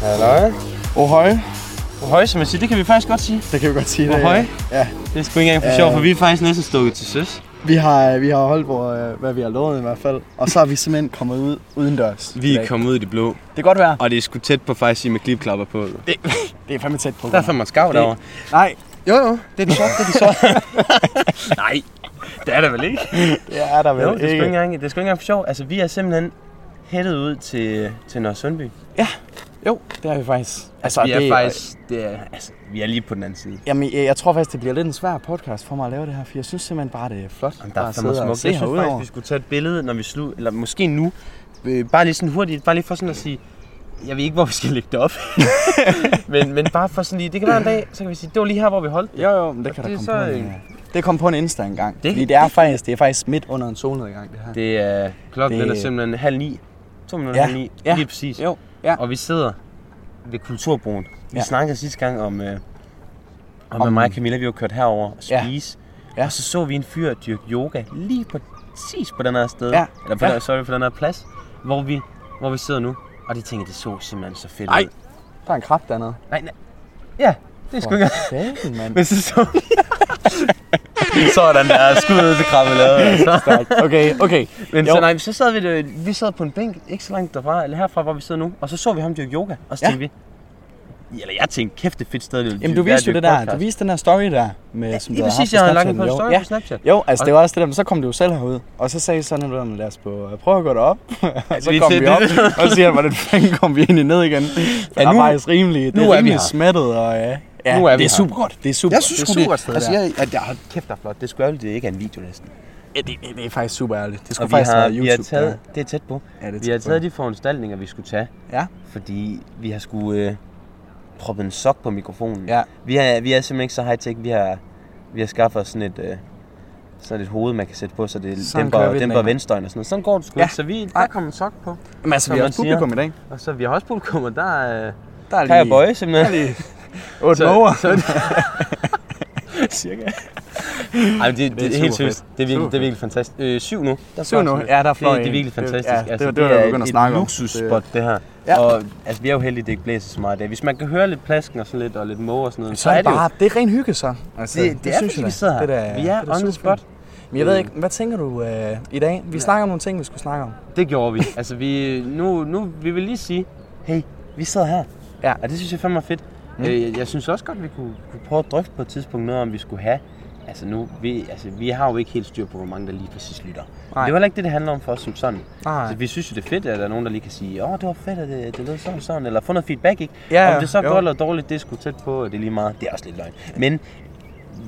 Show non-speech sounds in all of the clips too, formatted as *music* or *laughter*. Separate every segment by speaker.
Speaker 1: Halløj.
Speaker 2: Ohøj.
Speaker 1: Ohøj, som jeg siger, det kan vi faktisk godt sige.
Speaker 2: Det kan vi godt sige. det er-
Speaker 1: Ohøj.
Speaker 2: Ja.
Speaker 1: Det er sgu ikke engang for
Speaker 2: Ja.
Speaker 1: sjov, for vi er faktisk næsten stukket til søs.
Speaker 2: Vi har, vi har holdt, hvor, øh, hvad vi har lovet i hvert fald. Og så er vi simpelthen kommet ud udendørs. i
Speaker 3: Vi er
Speaker 2: dag.
Speaker 3: kommet ud i det blå,
Speaker 2: Det kan godt være.
Speaker 3: og det er sgu tæt på faktisk at sige med klipklapper på.
Speaker 2: Det er fandme tæt på.
Speaker 1: Der er fandme skav derovre.
Speaker 2: Nej,
Speaker 3: Jo, jo.
Speaker 2: det er den sorte, det er den
Speaker 1: *laughs*
Speaker 2: sorte.
Speaker 1: Nej, det er der vel ikke?
Speaker 2: det er der vel
Speaker 1: Jo, det er sgu ikke
Speaker 2: ikke.
Speaker 1: engang, det er sgu ikke engang for sjov. Altså, vi er simpelthen hættet ud til, til Nørresundby.
Speaker 2: Jo, det er vi faktisk. Altså,
Speaker 1: Vi er
Speaker 2: det,
Speaker 1: faktisk, det er, altså, vi er lige på den anden side.
Speaker 2: Jamen, jeg, jeg tror faktisk, det bliver lidt en svær podcast for mig at lave det her, for jeg synes simpelthen bare, det er flot.
Speaker 1: Jamen, der er
Speaker 2: at
Speaker 1: fandme
Speaker 2: sidde og
Speaker 1: smukt. Jeg
Speaker 2: se
Speaker 1: synes faktisk,
Speaker 2: herudover.
Speaker 1: vi skulle tage et billede, når vi slu, eller måske nu. Øh, bare lige sådan hurtigt, bare lige for sådan at sige, jeg ved ikke, hvor vi skal lægge det
Speaker 2: *laughs*
Speaker 1: op. men, men bare for sådan lige, det kan være en dag, så kan vi sige, det var lige her, hvor vi holdt.
Speaker 2: Jo, jo, men det
Speaker 1: Og
Speaker 2: kan da
Speaker 1: det er
Speaker 2: komme
Speaker 1: så,
Speaker 2: på en,
Speaker 1: øh,
Speaker 2: øh, Det kom på en Insta engang.
Speaker 1: Det-
Speaker 2: fordi det er, faktisk, det er faktisk midt under en solnedgang, det her.
Speaker 1: Det er klokken
Speaker 2: Det-
Speaker 1: det... er simpelthen halv ni. To minutter
Speaker 2: Ja,
Speaker 1: halv ni,
Speaker 2: ja,
Speaker 1: lige præcis.
Speaker 2: jo, ja.
Speaker 1: Og vi sidder ved Kulturbroen. Vi
Speaker 2: Ja.
Speaker 1: snakkede sidste gang om, øh, om,
Speaker 2: Om-
Speaker 1: om mig og Camilla, vi var kørt herover og
Speaker 2: Ja.
Speaker 1: spise.
Speaker 2: Ja.
Speaker 1: Og så så vi en fyr dyrke yoga lige præcis på den her sted.
Speaker 2: Ja,
Speaker 1: Eller på
Speaker 2: ja.
Speaker 1: den, sorry, på den her plads, hvor vi, hvor vi sidder nu. Og det tænker jeg, det så simpelthen så fedt
Speaker 2: Ej.
Speaker 1: ud.
Speaker 2: Der er en krab dernede.
Speaker 1: Nej, nej. Ja, det er sgu ikke.
Speaker 2: Satan,
Speaker 1: *laughs*
Speaker 2: mand.
Speaker 1: Men så så Sådan der, skud ud til altså. krammelade. Så.
Speaker 2: Okay, okay.
Speaker 1: Men
Speaker 2: Jo.
Speaker 1: så, nej, så sad vi, øh, vi sad på en bænk, ikke så langt derfra, eller herfra, hvor vi sidder nu, og så så vi ham dyrke yoga, og så
Speaker 2: Ja.
Speaker 1: tænkte vi, eller jeg tænkte, kæft, det er et fedt sted. Det
Speaker 2: Jamen, du viste jo det der. Du viste den der story der, med, som
Speaker 1: Lige
Speaker 2: du
Speaker 1: præcis, jeg
Speaker 2: havde
Speaker 1: havde lagt
Speaker 2: haft
Speaker 1: den på en
Speaker 2: Snapchat.
Speaker 1: story
Speaker 2: Jo,
Speaker 1: på Snapchat.
Speaker 2: Ja. Jo, altså det var også det der, men så kom du jo selv herud, og så sagde I sådan noget, med, lad os på, prøve at gå derop. *laughs* og så
Speaker 1: vi
Speaker 2: kom
Speaker 1: til
Speaker 2: vi
Speaker 1: det.
Speaker 2: op, og så siger han, hvordan fanden kom vi egentlig ned igen? Ja, nu, er
Speaker 1: nu-
Speaker 2: faktisk rimelig, det
Speaker 1: nu
Speaker 2: er
Speaker 1: er vi
Speaker 2: rimelig
Speaker 1: her.
Speaker 2: smattet, og ja. ja
Speaker 1: Nu er vi
Speaker 2: det er
Speaker 1: her.
Speaker 2: super godt. Det er super
Speaker 1: Jeg synes
Speaker 2: det
Speaker 1: sgu,
Speaker 2: er
Speaker 1: det
Speaker 2: super sted,
Speaker 1: Altså,
Speaker 2: der.
Speaker 1: jeg, at jeg har kæft, der er flot. Det skulle ærgerligt, det ikke altså. er en video næsten.
Speaker 2: Ja, det, det, det, er faktisk super ærligt. Det skulle
Speaker 1: Og vi
Speaker 2: faktisk
Speaker 1: har,
Speaker 2: være
Speaker 1: vi har
Speaker 2: YouTube.
Speaker 1: taget, det er tæt på.
Speaker 2: Ja, det er
Speaker 1: Vi har
Speaker 2: tæt på.
Speaker 1: taget de foranstaltninger, vi skulle tage,
Speaker 2: Ja.
Speaker 1: fordi vi har skulle øh, proppe en sok på mikrofonen.
Speaker 2: Ja.
Speaker 1: Vi, har, vi er simpelthen ikke så high-tech. Vi har, vi har skaffet os sådan et, øh, sådan et hoved, man kan sætte på, så det
Speaker 2: Sådan
Speaker 1: sådan
Speaker 2: kører vi
Speaker 1: dæmper,
Speaker 2: den
Speaker 1: dæmper
Speaker 2: af.
Speaker 1: venstøjen og sådan noget. Sådan går det sgu
Speaker 2: Ja.
Speaker 1: ja. Så vi, der
Speaker 2: Ej.
Speaker 1: kom en sok på.
Speaker 2: Jamen altså,
Speaker 1: Som
Speaker 2: vi har
Speaker 1: man
Speaker 2: også publikum i dag.
Speaker 1: Og så vi har også publikum, og der er... Øh,
Speaker 2: Der er
Speaker 1: kan jeg bøje simpelthen.
Speaker 2: Otte
Speaker 1: Så-
Speaker 2: lover.
Speaker 1: så er *laughs*
Speaker 2: Cirka.
Speaker 1: Ej, men det, det, det er
Speaker 2: super
Speaker 1: helt
Speaker 2: fedt.
Speaker 1: seriøst. Det er
Speaker 2: Super
Speaker 1: virkelig, det er virkelig fantastisk. Øh, syv nu. Der
Speaker 2: Syv
Speaker 1: fløj
Speaker 2: nu.
Speaker 1: sådan lidt.
Speaker 2: Ja, der
Speaker 1: det,
Speaker 2: fløj
Speaker 1: det er
Speaker 2: en.
Speaker 1: virkelig
Speaker 2: Det-
Speaker 1: fantastisk. Altså,
Speaker 2: ja, det var- det var,
Speaker 1: er
Speaker 2: jeg begyndte at
Speaker 1: et
Speaker 2: snakke om.
Speaker 1: luksusspot, det her.
Speaker 2: Ja.
Speaker 1: Ja. Og altså, vi er jo heldige, at det ikke blæser så meget i dag. Hvis man kan høre lidt plasken og sådan lidt, og lidt måge og sådan noget,
Speaker 2: Så er det,
Speaker 1: jo-
Speaker 2: bare, det er ren hygge så. Altså,
Speaker 1: det, det, det er fordi,
Speaker 2: da.
Speaker 1: vi sidder her.
Speaker 2: Det da-
Speaker 1: vi er
Speaker 2: det da
Speaker 1: on the
Speaker 2: super
Speaker 1: spot.
Speaker 2: fint. Men jeg ved ikke, hvad tænker du øh, i dag? Vi snakker om nogle ting, vi skulle snakke om.
Speaker 1: Det gjorde vi. *laughs* Altså, vi, nu, nu vi vil lige sige, hey, vi sidder her.
Speaker 2: Ja.
Speaker 1: Og det synes jeg fandme er fedt. Mm. Øh, jeg- jeg synes også godt, vi kunne, kunne prøve at drøfte på et tidspunkt noget, om vi skulle have... Altså nu, vi, altså, vi har jo ikke helt styr på, hvor mange der lige præcis lytter. Men
Speaker 2: Nej.
Speaker 1: Det var heller ikke det, det handler om for os som sådan.
Speaker 2: Nej.
Speaker 1: Altså, vi synes jo, det er fedt, at der er nogen, der lige kan sige, åh, det var fedt, at det, det lød sådan og sådan, eller få noget feedback, ikke?
Speaker 2: Ja,
Speaker 1: om det er så
Speaker 2: jo.
Speaker 1: jo. godt eller dårligt, det er sgu tæt på, og det er lige meget. Det er også lidt løgn. Men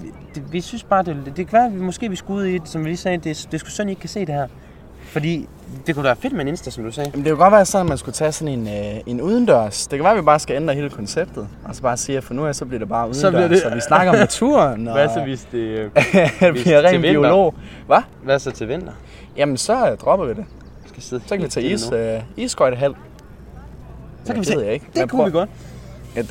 Speaker 1: vi- det, vi synes bare, det, det kan være, at vi måske vi skulle ud i, det, som vi lige sagde, det, det skulle sådan, I ikke kan se det her. Fordi det kunne da være fedt med en Insta, som du sagde.
Speaker 2: Jamen, det kunne godt være sådan, at man skulle tage sådan en, øh, en udendørs. Det kan være, at vi bare skal ændre hele konceptet. Og så bare sige, at for nu af, så bliver det bare udendørs.
Speaker 1: Så bliver det-
Speaker 2: Så vi
Speaker 1: *laughs*
Speaker 2: snakker om naturen. Og... *laughs*
Speaker 1: hvis det øh,
Speaker 2: det bliver
Speaker 1: til
Speaker 2: ren
Speaker 1: vinter?
Speaker 2: biolog. Hvad?
Speaker 1: *laughs* Hvad så til vinter?
Speaker 2: Jamen, så øh, dropper vi det.
Speaker 1: Vi Skal sidde
Speaker 2: Så kan vi
Speaker 1: helt
Speaker 2: tage
Speaker 1: stille nu.
Speaker 2: is, øh, isskøjtehal.
Speaker 1: Så kan vi
Speaker 2: det ved jeg ikke.
Speaker 1: Det
Speaker 2: Jeg
Speaker 1: kunne vi
Speaker 2: prøver-
Speaker 1: godt.
Speaker 2: Jeg,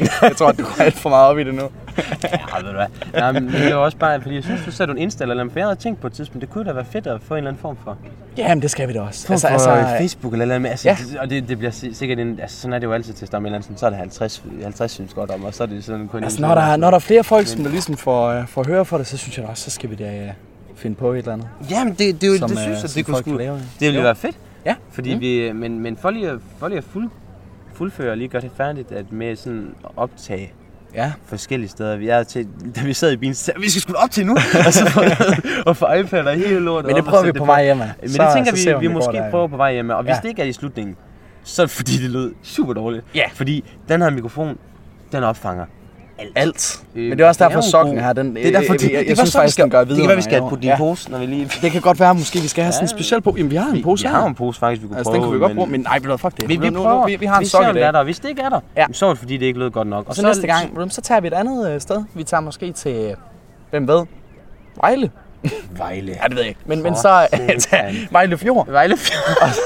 Speaker 2: *laughs* jeg tror, at du går alt for meget op i det nu.
Speaker 1: Ja, ved du hvad. Nej, men det var også bare, fordi jeg synes, du sagde du en Insta eller noget, for jeg havde tænkt på et tidspunkt, det kunne da være fedt at få en eller anden form for.
Speaker 2: Jamen, det skal vi da også.
Speaker 1: altså, altså, Facebook eller noget med, altså,
Speaker 2: Ja.
Speaker 1: ja. og det, det bliver si- sikkert en, altså sådan er det jo altid til stamme så er det 50, 50 synes godt om, og så er det sådan kun
Speaker 2: Altså, når der, er- når der er flere folk, som der ligesom får, øh, får høre for det, så synes jeg da også, så skal vi da øh, finde på et eller andet.
Speaker 1: Jamen, det, det, det,
Speaker 2: Som,
Speaker 1: det
Speaker 2: øh,
Speaker 1: synes jeg,
Speaker 2: som
Speaker 1: det kunne
Speaker 2: folk
Speaker 1: sgu,
Speaker 2: kan lave, ja.
Speaker 1: det ville
Speaker 2: Jo.
Speaker 1: jo. være fedt,
Speaker 2: Ja.
Speaker 1: fordi mm. vi, men, men for lige at, for lige at fuld, fuldføre og lige gøre det færdigt, at med sådan at optage
Speaker 2: Ja.
Speaker 1: forskellige steder. Vi er til, da vi sad i bilen, så sagde jeg, vi skal sgu da op
Speaker 2: *laughs*
Speaker 1: til nu. og så få- og få iPad og hele lortet.
Speaker 2: Men det
Speaker 1: op og
Speaker 2: prøver vi
Speaker 1: sætte det
Speaker 2: på vej hjemme.
Speaker 1: Men
Speaker 2: Så-
Speaker 1: det tænker
Speaker 2: så ser vi, om
Speaker 1: vi, vi
Speaker 2: det går
Speaker 1: måske
Speaker 2: derhen.
Speaker 1: prøver på vej hjemme. Og hvis
Speaker 2: Ja.
Speaker 1: det ikke er i slutningen, så er det fordi, det lød super dårligt.
Speaker 2: Ja.
Speaker 1: Fordi den her mikrofon, den opfanger.
Speaker 2: Alt.
Speaker 1: Øh,
Speaker 2: Men det er også
Speaker 1: den
Speaker 2: derfor,
Speaker 1: jo
Speaker 2: sokken
Speaker 1: god.
Speaker 2: her, den...
Speaker 1: Det er derfor,
Speaker 2: øh,
Speaker 1: det,
Speaker 2: jeg, jeg,
Speaker 1: det,
Speaker 2: jeg
Speaker 1: var
Speaker 2: synes
Speaker 1: sådan, vi
Speaker 2: faktisk,
Speaker 1: skal,
Speaker 2: den gør
Speaker 1: det
Speaker 2: videre.
Speaker 1: kan være, vi skal have
Speaker 2: på
Speaker 1: putte din pose, når vi lige...
Speaker 2: Det kan godt være, måske vi skal have sådan en
Speaker 1: Ja.
Speaker 2: speciel på. Jamen, vi har en pose
Speaker 1: vi
Speaker 2: her.
Speaker 1: har en pose faktisk, vi kunne
Speaker 2: Altså,
Speaker 1: prøve.
Speaker 2: den kan vi godt
Speaker 1: men-
Speaker 2: bruge, men nej, ved du hvad, fuck det.
Speaker 1: Vi, vi,
Speaker 2: Nu- nu-
Speaker 1: prøver.
Speaker 2: Vi, vi har en
Speaker 1: ser,
Speaker 2: sok i
Speaker 1: om det er
Speaker 2: dag.
Speaker 1: der. og Hvis det ikke er der,
Speaker 2: Ja.
Speaker 1: så er det fordi, det ikke lød godt nok.
Speaker 2: Og så næste gang, ved du, så tager vi et andet øh, sted. Vi tager måske til, øh, hvem ved, Vejle.
Speaker 1: Vejle.
Speaker 2: Ja, det ved jeg ikke. Men, men
Speaker 1: For
Speaker 2: så
Speaker 1: satan.
Speaker 2: tager Vejle Fjord.
Speaker 1: Vejle
Speaker 2: *laughs*
Speaker 1: Fjord.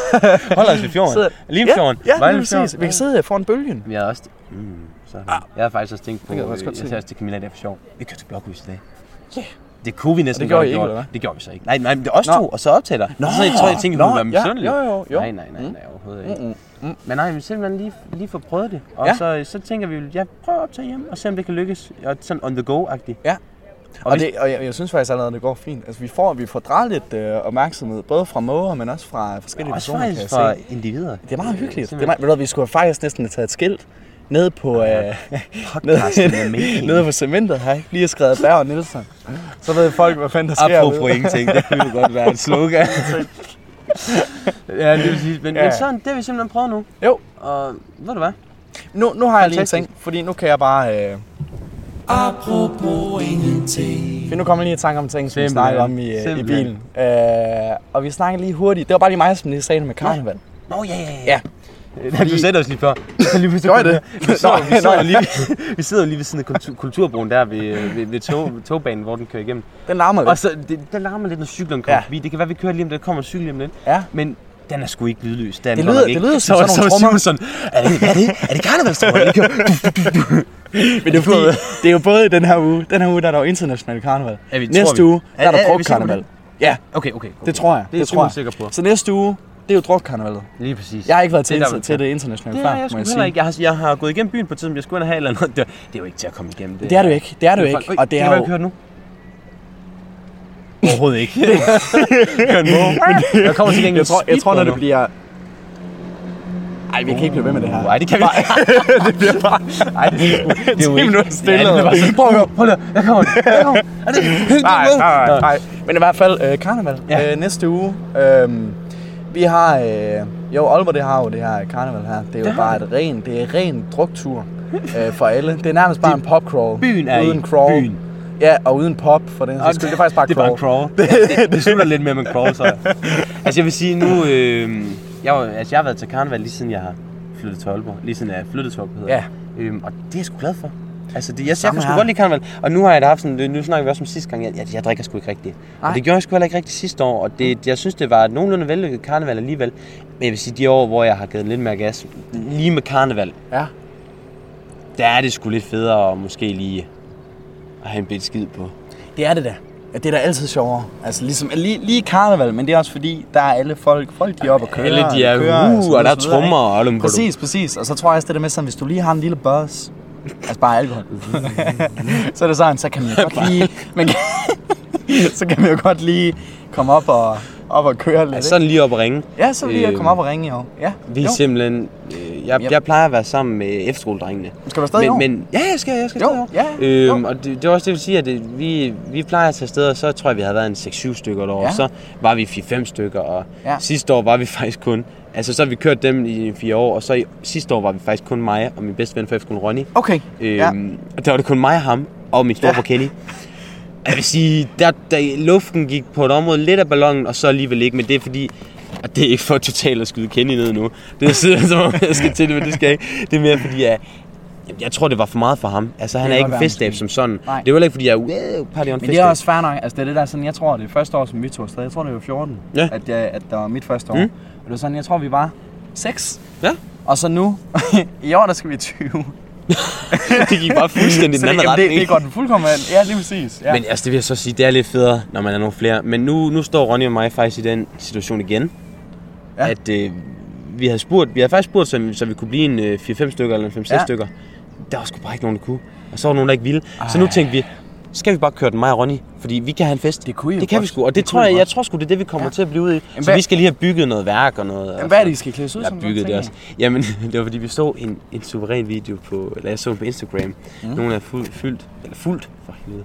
Speaker 1: Hold os ved fjorden. Limfjorden.
Speaker 2: Ja, ja
Speaker 1: Vejle
Speaker 2: lige præcis.
Speaker 1: Fjord.
Speaker 2: Vi kan sidde øh, foran bølgen.
Speaker 1: Men Jeg har også... Mm, sådan. Jeg har faktisk også tænkt på...
Speaker 2: Det kan jeg
Speaker 1: Jeg,
Speaker 2: faktisk godt
Speaker 1: jeg
Speaker 2: se.
Speaker 1: sagde også til Camilla, det er for sjov. Vi kører til Blokhus i dag.
Speaker 2: Ja.
Speaker 1: Det kunne vi næsten
Speaker 2: Og det gjorde
Speaker 1: godt have
Speaker 2: I ikke,
Speaker 1: gjort.
Speaker 2: eller hvad?
Speaker 1: Det gjorde vi så ikke. Nej, nej, men det er os to,
Speaker 2: Nå.
Speaker 1: og så op til dig.
Speaker 2: Nå.
Speaker 1: Så jeg tror, jeg tænkte, hun var
Speaker 2: Nå, ja,
Speaker 1: misundelig.
Speaker 2: jo, jo, jo. Mm.
Speaker 1: Nej, nej, nej, nej, overhovedet ikke.
Speaker 2: Mm-mm.
Speaker 1: Men nej, vi simpelthen lige, lige få prøvet det. Og
Speaker 2: Ja.
Speaker 1: så, så tænker vi, ja, prøv at optage hjem og se, om det kan lykkes. Og sådan on the go-agtigt.
Speaker 2: Ja.
Speaker 1: Og,
Speaker 2: Og,
Speaker 1: det...
Speaker 2: det, og jeg, jeg synes faktisk allerede, det går fint. Altså, vi får, vi får drejet lidt øh, opmærksomhed, både fra måger, men også fra forskellige
Speaker 1: også
Speaker 2: personer,
Speaker 1: faktisk
Speaker 2: kan
Speaker 1: for
Speaker 2: jeg se.
Speaker 1: individer.
Speaker 2: Det er meget hyggeligt. Det er
Speaker 1: simpelthen.
Speaker 2: meget, ved du, hvad, vi skulle faktisk næsten have taget et skilt ned på, øh,
Speaker 1: Podcasten
Speaker 2: *laughs*
Speaker 1: med mening.
Speaker 2: nede på cementet her, ikke? lige at skrevet Berg og Nielsen. Så ved folk, hvad fanden der sker. *laughs*
Speaker 3: Apropos ingenting, det kunne jo godt være et slogan.
Speaker 1: *laughs* Ja, det vil sige. Men, ja.
Speaker 2: Ja.
Speaker 1: men sådan, det har vi simpelthen prøvet nu.
Speaker 2: Jo.
Speaker 1: Og ved du hvad?
Speaker 2: Nu, nu har jeg lige en
Speaker 1: Fantastisk.
Speaker 2: ting, fordi nu kan jeg bare... Øh... Apropos ingenting. For nu kommer jeg lige i tanke om ting, som vi
Speaker 1: Simpelthen.
Speaker 2: snakkede om i, øh, i
Speaker 1: Simpelthen.
Speaker 2: bilen. Øh, og vi snakkede lige hurtigt. Det var bare lige mig, som lige sagde det med karneval.
Speaker 1: Nå, ja, ja,
Speaker 2: Ja.
Speaker 1: Fordi... Du sætter os lige
Speaker 2: *laughs*
Speaker 1: før. lige
Speaker 2: Gjorde jeg det?
Speaker 1: Vi sidder,
Speaker 2: Nå,
Speaker 1: vi sidder,
Speaker 2: nå.
Speaker 1: lige, vi sidder lige ved siden af kultur, kulturbroen der ved, øh, ved, ved tog, togbanen, hvor den kører igennem.
Speaker 2: Den larmer
Speaker 1: Og
Speaker 2: lidt.
Speaker 1: så, det, der larmer lidt, når cyklen kommer
Speaker 2: Ja.
Speaker 1: ja. forbi. Det kan være, vi kører lige om lidt, der kommer en cykel lige om lidt.
Speaker 2: Ja.
Speaker 1: Men den er sgu ikke lydløs. Den
Speaker 2: Det
Speaker 1: godt
Speaker 2: lyder-
Speaker 1: nok ikke.
Speaker 2: det lyder som sådan
Speaker 1: *laughs*
Speaker 2: nogle
Speaker 1: så, Simon
Speaker 2: trommer.
Speaker 1: sådan, er det, er det, er det karnevalstrummer, der kører?
Speaker 2: *laughs* Men det, er *laughs* fordi, det er jo både i den her uge, den her uge der er der jo international karneval.
Speaker 1: Ja, vi- tror vi.
Speaker 2: Næste uge, der er
Speaker 1: Er- er-
Speaker 2: der
Speaker 1: er vi sikre på
Speaker 2: drukkarneval. Ja,
Speaker 1: Okay, okay, okay.
Speaker 2: det tror jeg.
Speaker 1: Det er
Speaker 2: tror jeg.
Speaker 1: Simon sikker på.
Speaker 2: Så næste uge, det er jo drukkarnevalet.
Speaker 1: Lige præcis.
Speaker 2: Jeg har ikke været til,
Speaker 1: Det er der,
Speaker 2: det,
Speaker 1: vi
Speaker 2: til
Speaker 1: kan.
Speaker 2: det internationale
Speaker 1: Det
Speaker 2: før,
Speaker 1: har jeg
Speaker 2: må
Speaker 1: sgu
Speaker 2: jeg
Speaker 1: heller
Speaker 2: sige.
Speaker 1: ikke. Jeg har, jeg har gået igennem byen på tiden, jeg skulle ind og have et eller andet. *laughs* Det, det er jo ikke til at komme igennem.
Speaker 2: Det er du ikke, det er du ikke. Og det er jo,
Speaker 1: Kan du nu? Overhovedet ikke. *laughs* Kør en måge. Jeg kommer til gengæld
Speaker 2: jeg tror, jeg tror når det
Speaker 1: speedbåd
Speaker 2: bliver... Ej, vi kan ikke blive ved med det her.
Speaker 1: nu. Nej, det kan vi ikke.
Speaker 2: det bliver bare...
Speaker 1: Nej, det
Speaker 2: *laughs*
Speaker 1: er sgu- det er jo
Speaker 2: 10
Speaker 1: ikke.
Speaker 2: minutter stille.
Speaker 1: Ja, det var sådan, prøv at høre, prøv at høre. Jeg kommer, jeg kommer. Er det hyggeligt?
Speaker 2: Nej, *laughs* nej, nej, nej. Men i hvert fald, øh, karneval ja.
Speaker 1: Ja.
Speaker 2: øh, næste uge. Øh, vi har... Øh, jo, Aalborg det har jo det her karneval her. Det er jo det bare et ren, det er ren druktur øh, for alle. Det er nærmest bare en popcrawl.
Speaker 1: byen er
Speaker 2: uden
Speaker 1: i
Speaker 2: crawl.
Speaker 1: byen.
Speaker 2: Ja, og uden pop for den sags
Speaker 1: Og
Speaker 2: skyld. Det er faktisk bare
Speaker 1: det er
Speaker 2: crawl.
Speaker 1: bare crawl.
Speaker 2: *laughs*
Speaker 1: Ja, det, det slutter lidt med, at man crawl, så. Altså, jeg vil sige nu... Øh, jeg, var- altså, jeg har været til karneval lige siden jeg har flyttet til Aalborg. Lige siden jeg flyttede til Aalborg, hedder
Speaker 2: Ja.
Speaker 1: det. Øhm, og det er jeg sgu glad for. Altså, det, jeg, jeg
Speaker 2: Samme
Speaker 1: kan sgu
Speaker 2: her.
Speaker 1: godt lide karneval. Og nu har jeg da haft sådan... Nu snakker vi også om sidste gang. Jeg, jeg, jeg drikker sgu ikke rigtigt.
Speaker 2: Nej.
Speaker 1: Og det gjorde jeg sgu heller ikke rigtigt sidste år. Og det, jeg synes, det var et nogenlunde vellykket karneval alligevel. Men jeg vil sige, de år, hvor jeg har givet lidt mere gas, lige med karneval,
Speaker 2: Ja.
Speaker 1: der er det sgu lidt federe at måske lige at have en bitte skid på.
Speaker 2: Det er det da. Ja, det er da altid sjovere. Altså ligesom, lige, lige karneval, men det er også fordi, der er alle folk, folk de er oppe og kører.
Speaker 1: Alle de er,
Speaker 2: og kører,
Speaker 1: uh,
Speaker 2: sådan
Speaker 1: og der
Speaker 2: noget,
Speaker 1: er
Speaker 2: sådan noget,
Speaker 1: trommer
Speaker 2: ikke?
Speaker 1: og alum på
Speaker 2: Præcis, præcis. Og så tror jeg også, det der med sådan, hvis du lige har en lille buzz, altså bare alkohol, *laughs* så er det sådan, så kan man jo godt lige, man kan, så kan *laughs* man jo godt lige komme op og, op og køre lidt.
Speaker 1: Ja,
Speaker 2: Altså,
Speaker 1: sådan lige op og ringe.
Speaker 2: ja, så lige at
Speaker 1: øh,
Speaker 2: komme op og ringe i år. Ja,
Speaker 1: Vi er
Speaker 2: jo.
Speaker 1: simpelthen... Øh, jeg,
Speaker 2: Yep.
Speaker 1: jeg plejer at være sammen med efterskoledrengene.
Speaker 2: Skal du afsted i
Speaker 1: men,
Speaker 2: år?
Speaker 1: men, Ja, jeg skal, jeg skal
Speaker 2: Jo,
Speaker 1: afsted i år.
Speaker 2: ja, ja,
Speaker 1: øhm,
Speaker 2: jo.
Speaker 1: Og det, det, er også det, vil sige, at det, vi, vi plejer at tage afsted, og så tror jeg, vi havde været en 6-7 stykker derovre.
Speaker 2: Ja.
Speaker 1: Ja. Så var vi 4-5 stykker, og
Speaker 2: Ja.
Speaker 1: ja. sidste år var vi *laughs* faktisk kun... Altså, så har vi kørt dem i 4 år, og så i, sidste år var vi faktisk kun mig og min bedste ven fra efterskolen, Ronny.
Speaker 2: Okay,
Speaker 1: Øhm,
Speaker 2: ja.
Speaker 1: Og der var det kun mig og ham, og min storebror Kenny. Jeg vil sige, der, der, luften gik på et område lidt af ballonen, og så alligevel ikke, men det er fordi, og det er ikke for totalt at skyde Kenny ned nu. Det sidder *laughs* som om, jeg skal til det, men det skal jeg ikke. Det er mere fordi, jeg, jamen, jeg tror, det var for meget for ham. Altså, han
Speaker 2: Det
Speaker 1: er
Speaker 2: kan
Speaker 1: ikke
Speaker 2: godt
Speaker 1: en
Speaker 2: være,
Speaker 1: festab
Speaker 2: måske.
Speaker 1: som sådan.
Speaker 2: Nej.
Speaker 1: Det er jo heller ikke, fordi jeg er wow, party on
Speaker 2: Men det er
Speaker 1: festab.
Speaker 2: også fair nok. Altså, det er det der, sådan, jeg tror, det er første år, som vi tog afsted. Jeg tror, det var 14,
Speaker 1: Ja.
Speaker 2: at, jeg, at det var mit første år. Mm.
Speaker 1: Mm.
Speaker 2: Og det var sådan, jeg tror, vi var 6.
Speaker 1: Ja.
Speaker 2: Og så nu, *laughs* i år, der skal vi 20.
Speaker 1: *laughs* det gik bare fuldstændig
Speaker 2: *laughs* så
Speaker 1: den anden
Speaker 2: det, jamen, det,
Speaker 1: retning.
Speaker 2: det går den fuldkommen an. Ja, lige præcis. Ja.
Speaker 1: Men altså, det vil jeg så sige, det er lidt federe, når man er nogle flere. Men nu, nu står Ronny og mig faktisk i den situation igen,
Speaker 2: Ja.
Speaker 1: ja. at øh, vi havde spurgt, vi havde faktisk spurgt, så, så vi kunne blive en øh, 4-5 stykker eller en 5-6
Speaker 2: Ja.
Speaker 1: ja. stykker. Der var sgu bare ikke nogen, der kunne. Og så var der nogen, der ikke ville. Ej. Så nu tænkte vi, skal vi bare køre den mig og Ronny, fordi vi kan have en fest.
Speaker 2: Det kunne I jo
Speaker 1: det kan
Speaker 2: godt.
Speaker 1: vi sgu, og det,
Speaker 2: Det
Speaker 1: det
Speaker 2: kunne
Speaker 1: tror
Speaker 2: I
Speaker 1: jeg,
Speaker 2: godt.
Speaker 1: jeg tror sgu, det er det, vi kommer ja. til at blive ude i. Så
Speaker 2: hvad-
Speaker 1: vi skal lige have bygget noget værk og noget.
Speaker 2: Jamen, hvad er det, I skal klædes ud
Speaker 1: Jeg
Speaker 2: som? Hvad
Speaker 1: byggede det
Speaker 2: tænker
Speaker 1: også.
Speaker 2: I?
Speaker 1: Jamen, *laughs* det var fordi, vi så en, en suveræn video på, eller jeg så den på Instagram. Mm. Nogle er fuld, fyldt, eller fuldt, for helvede.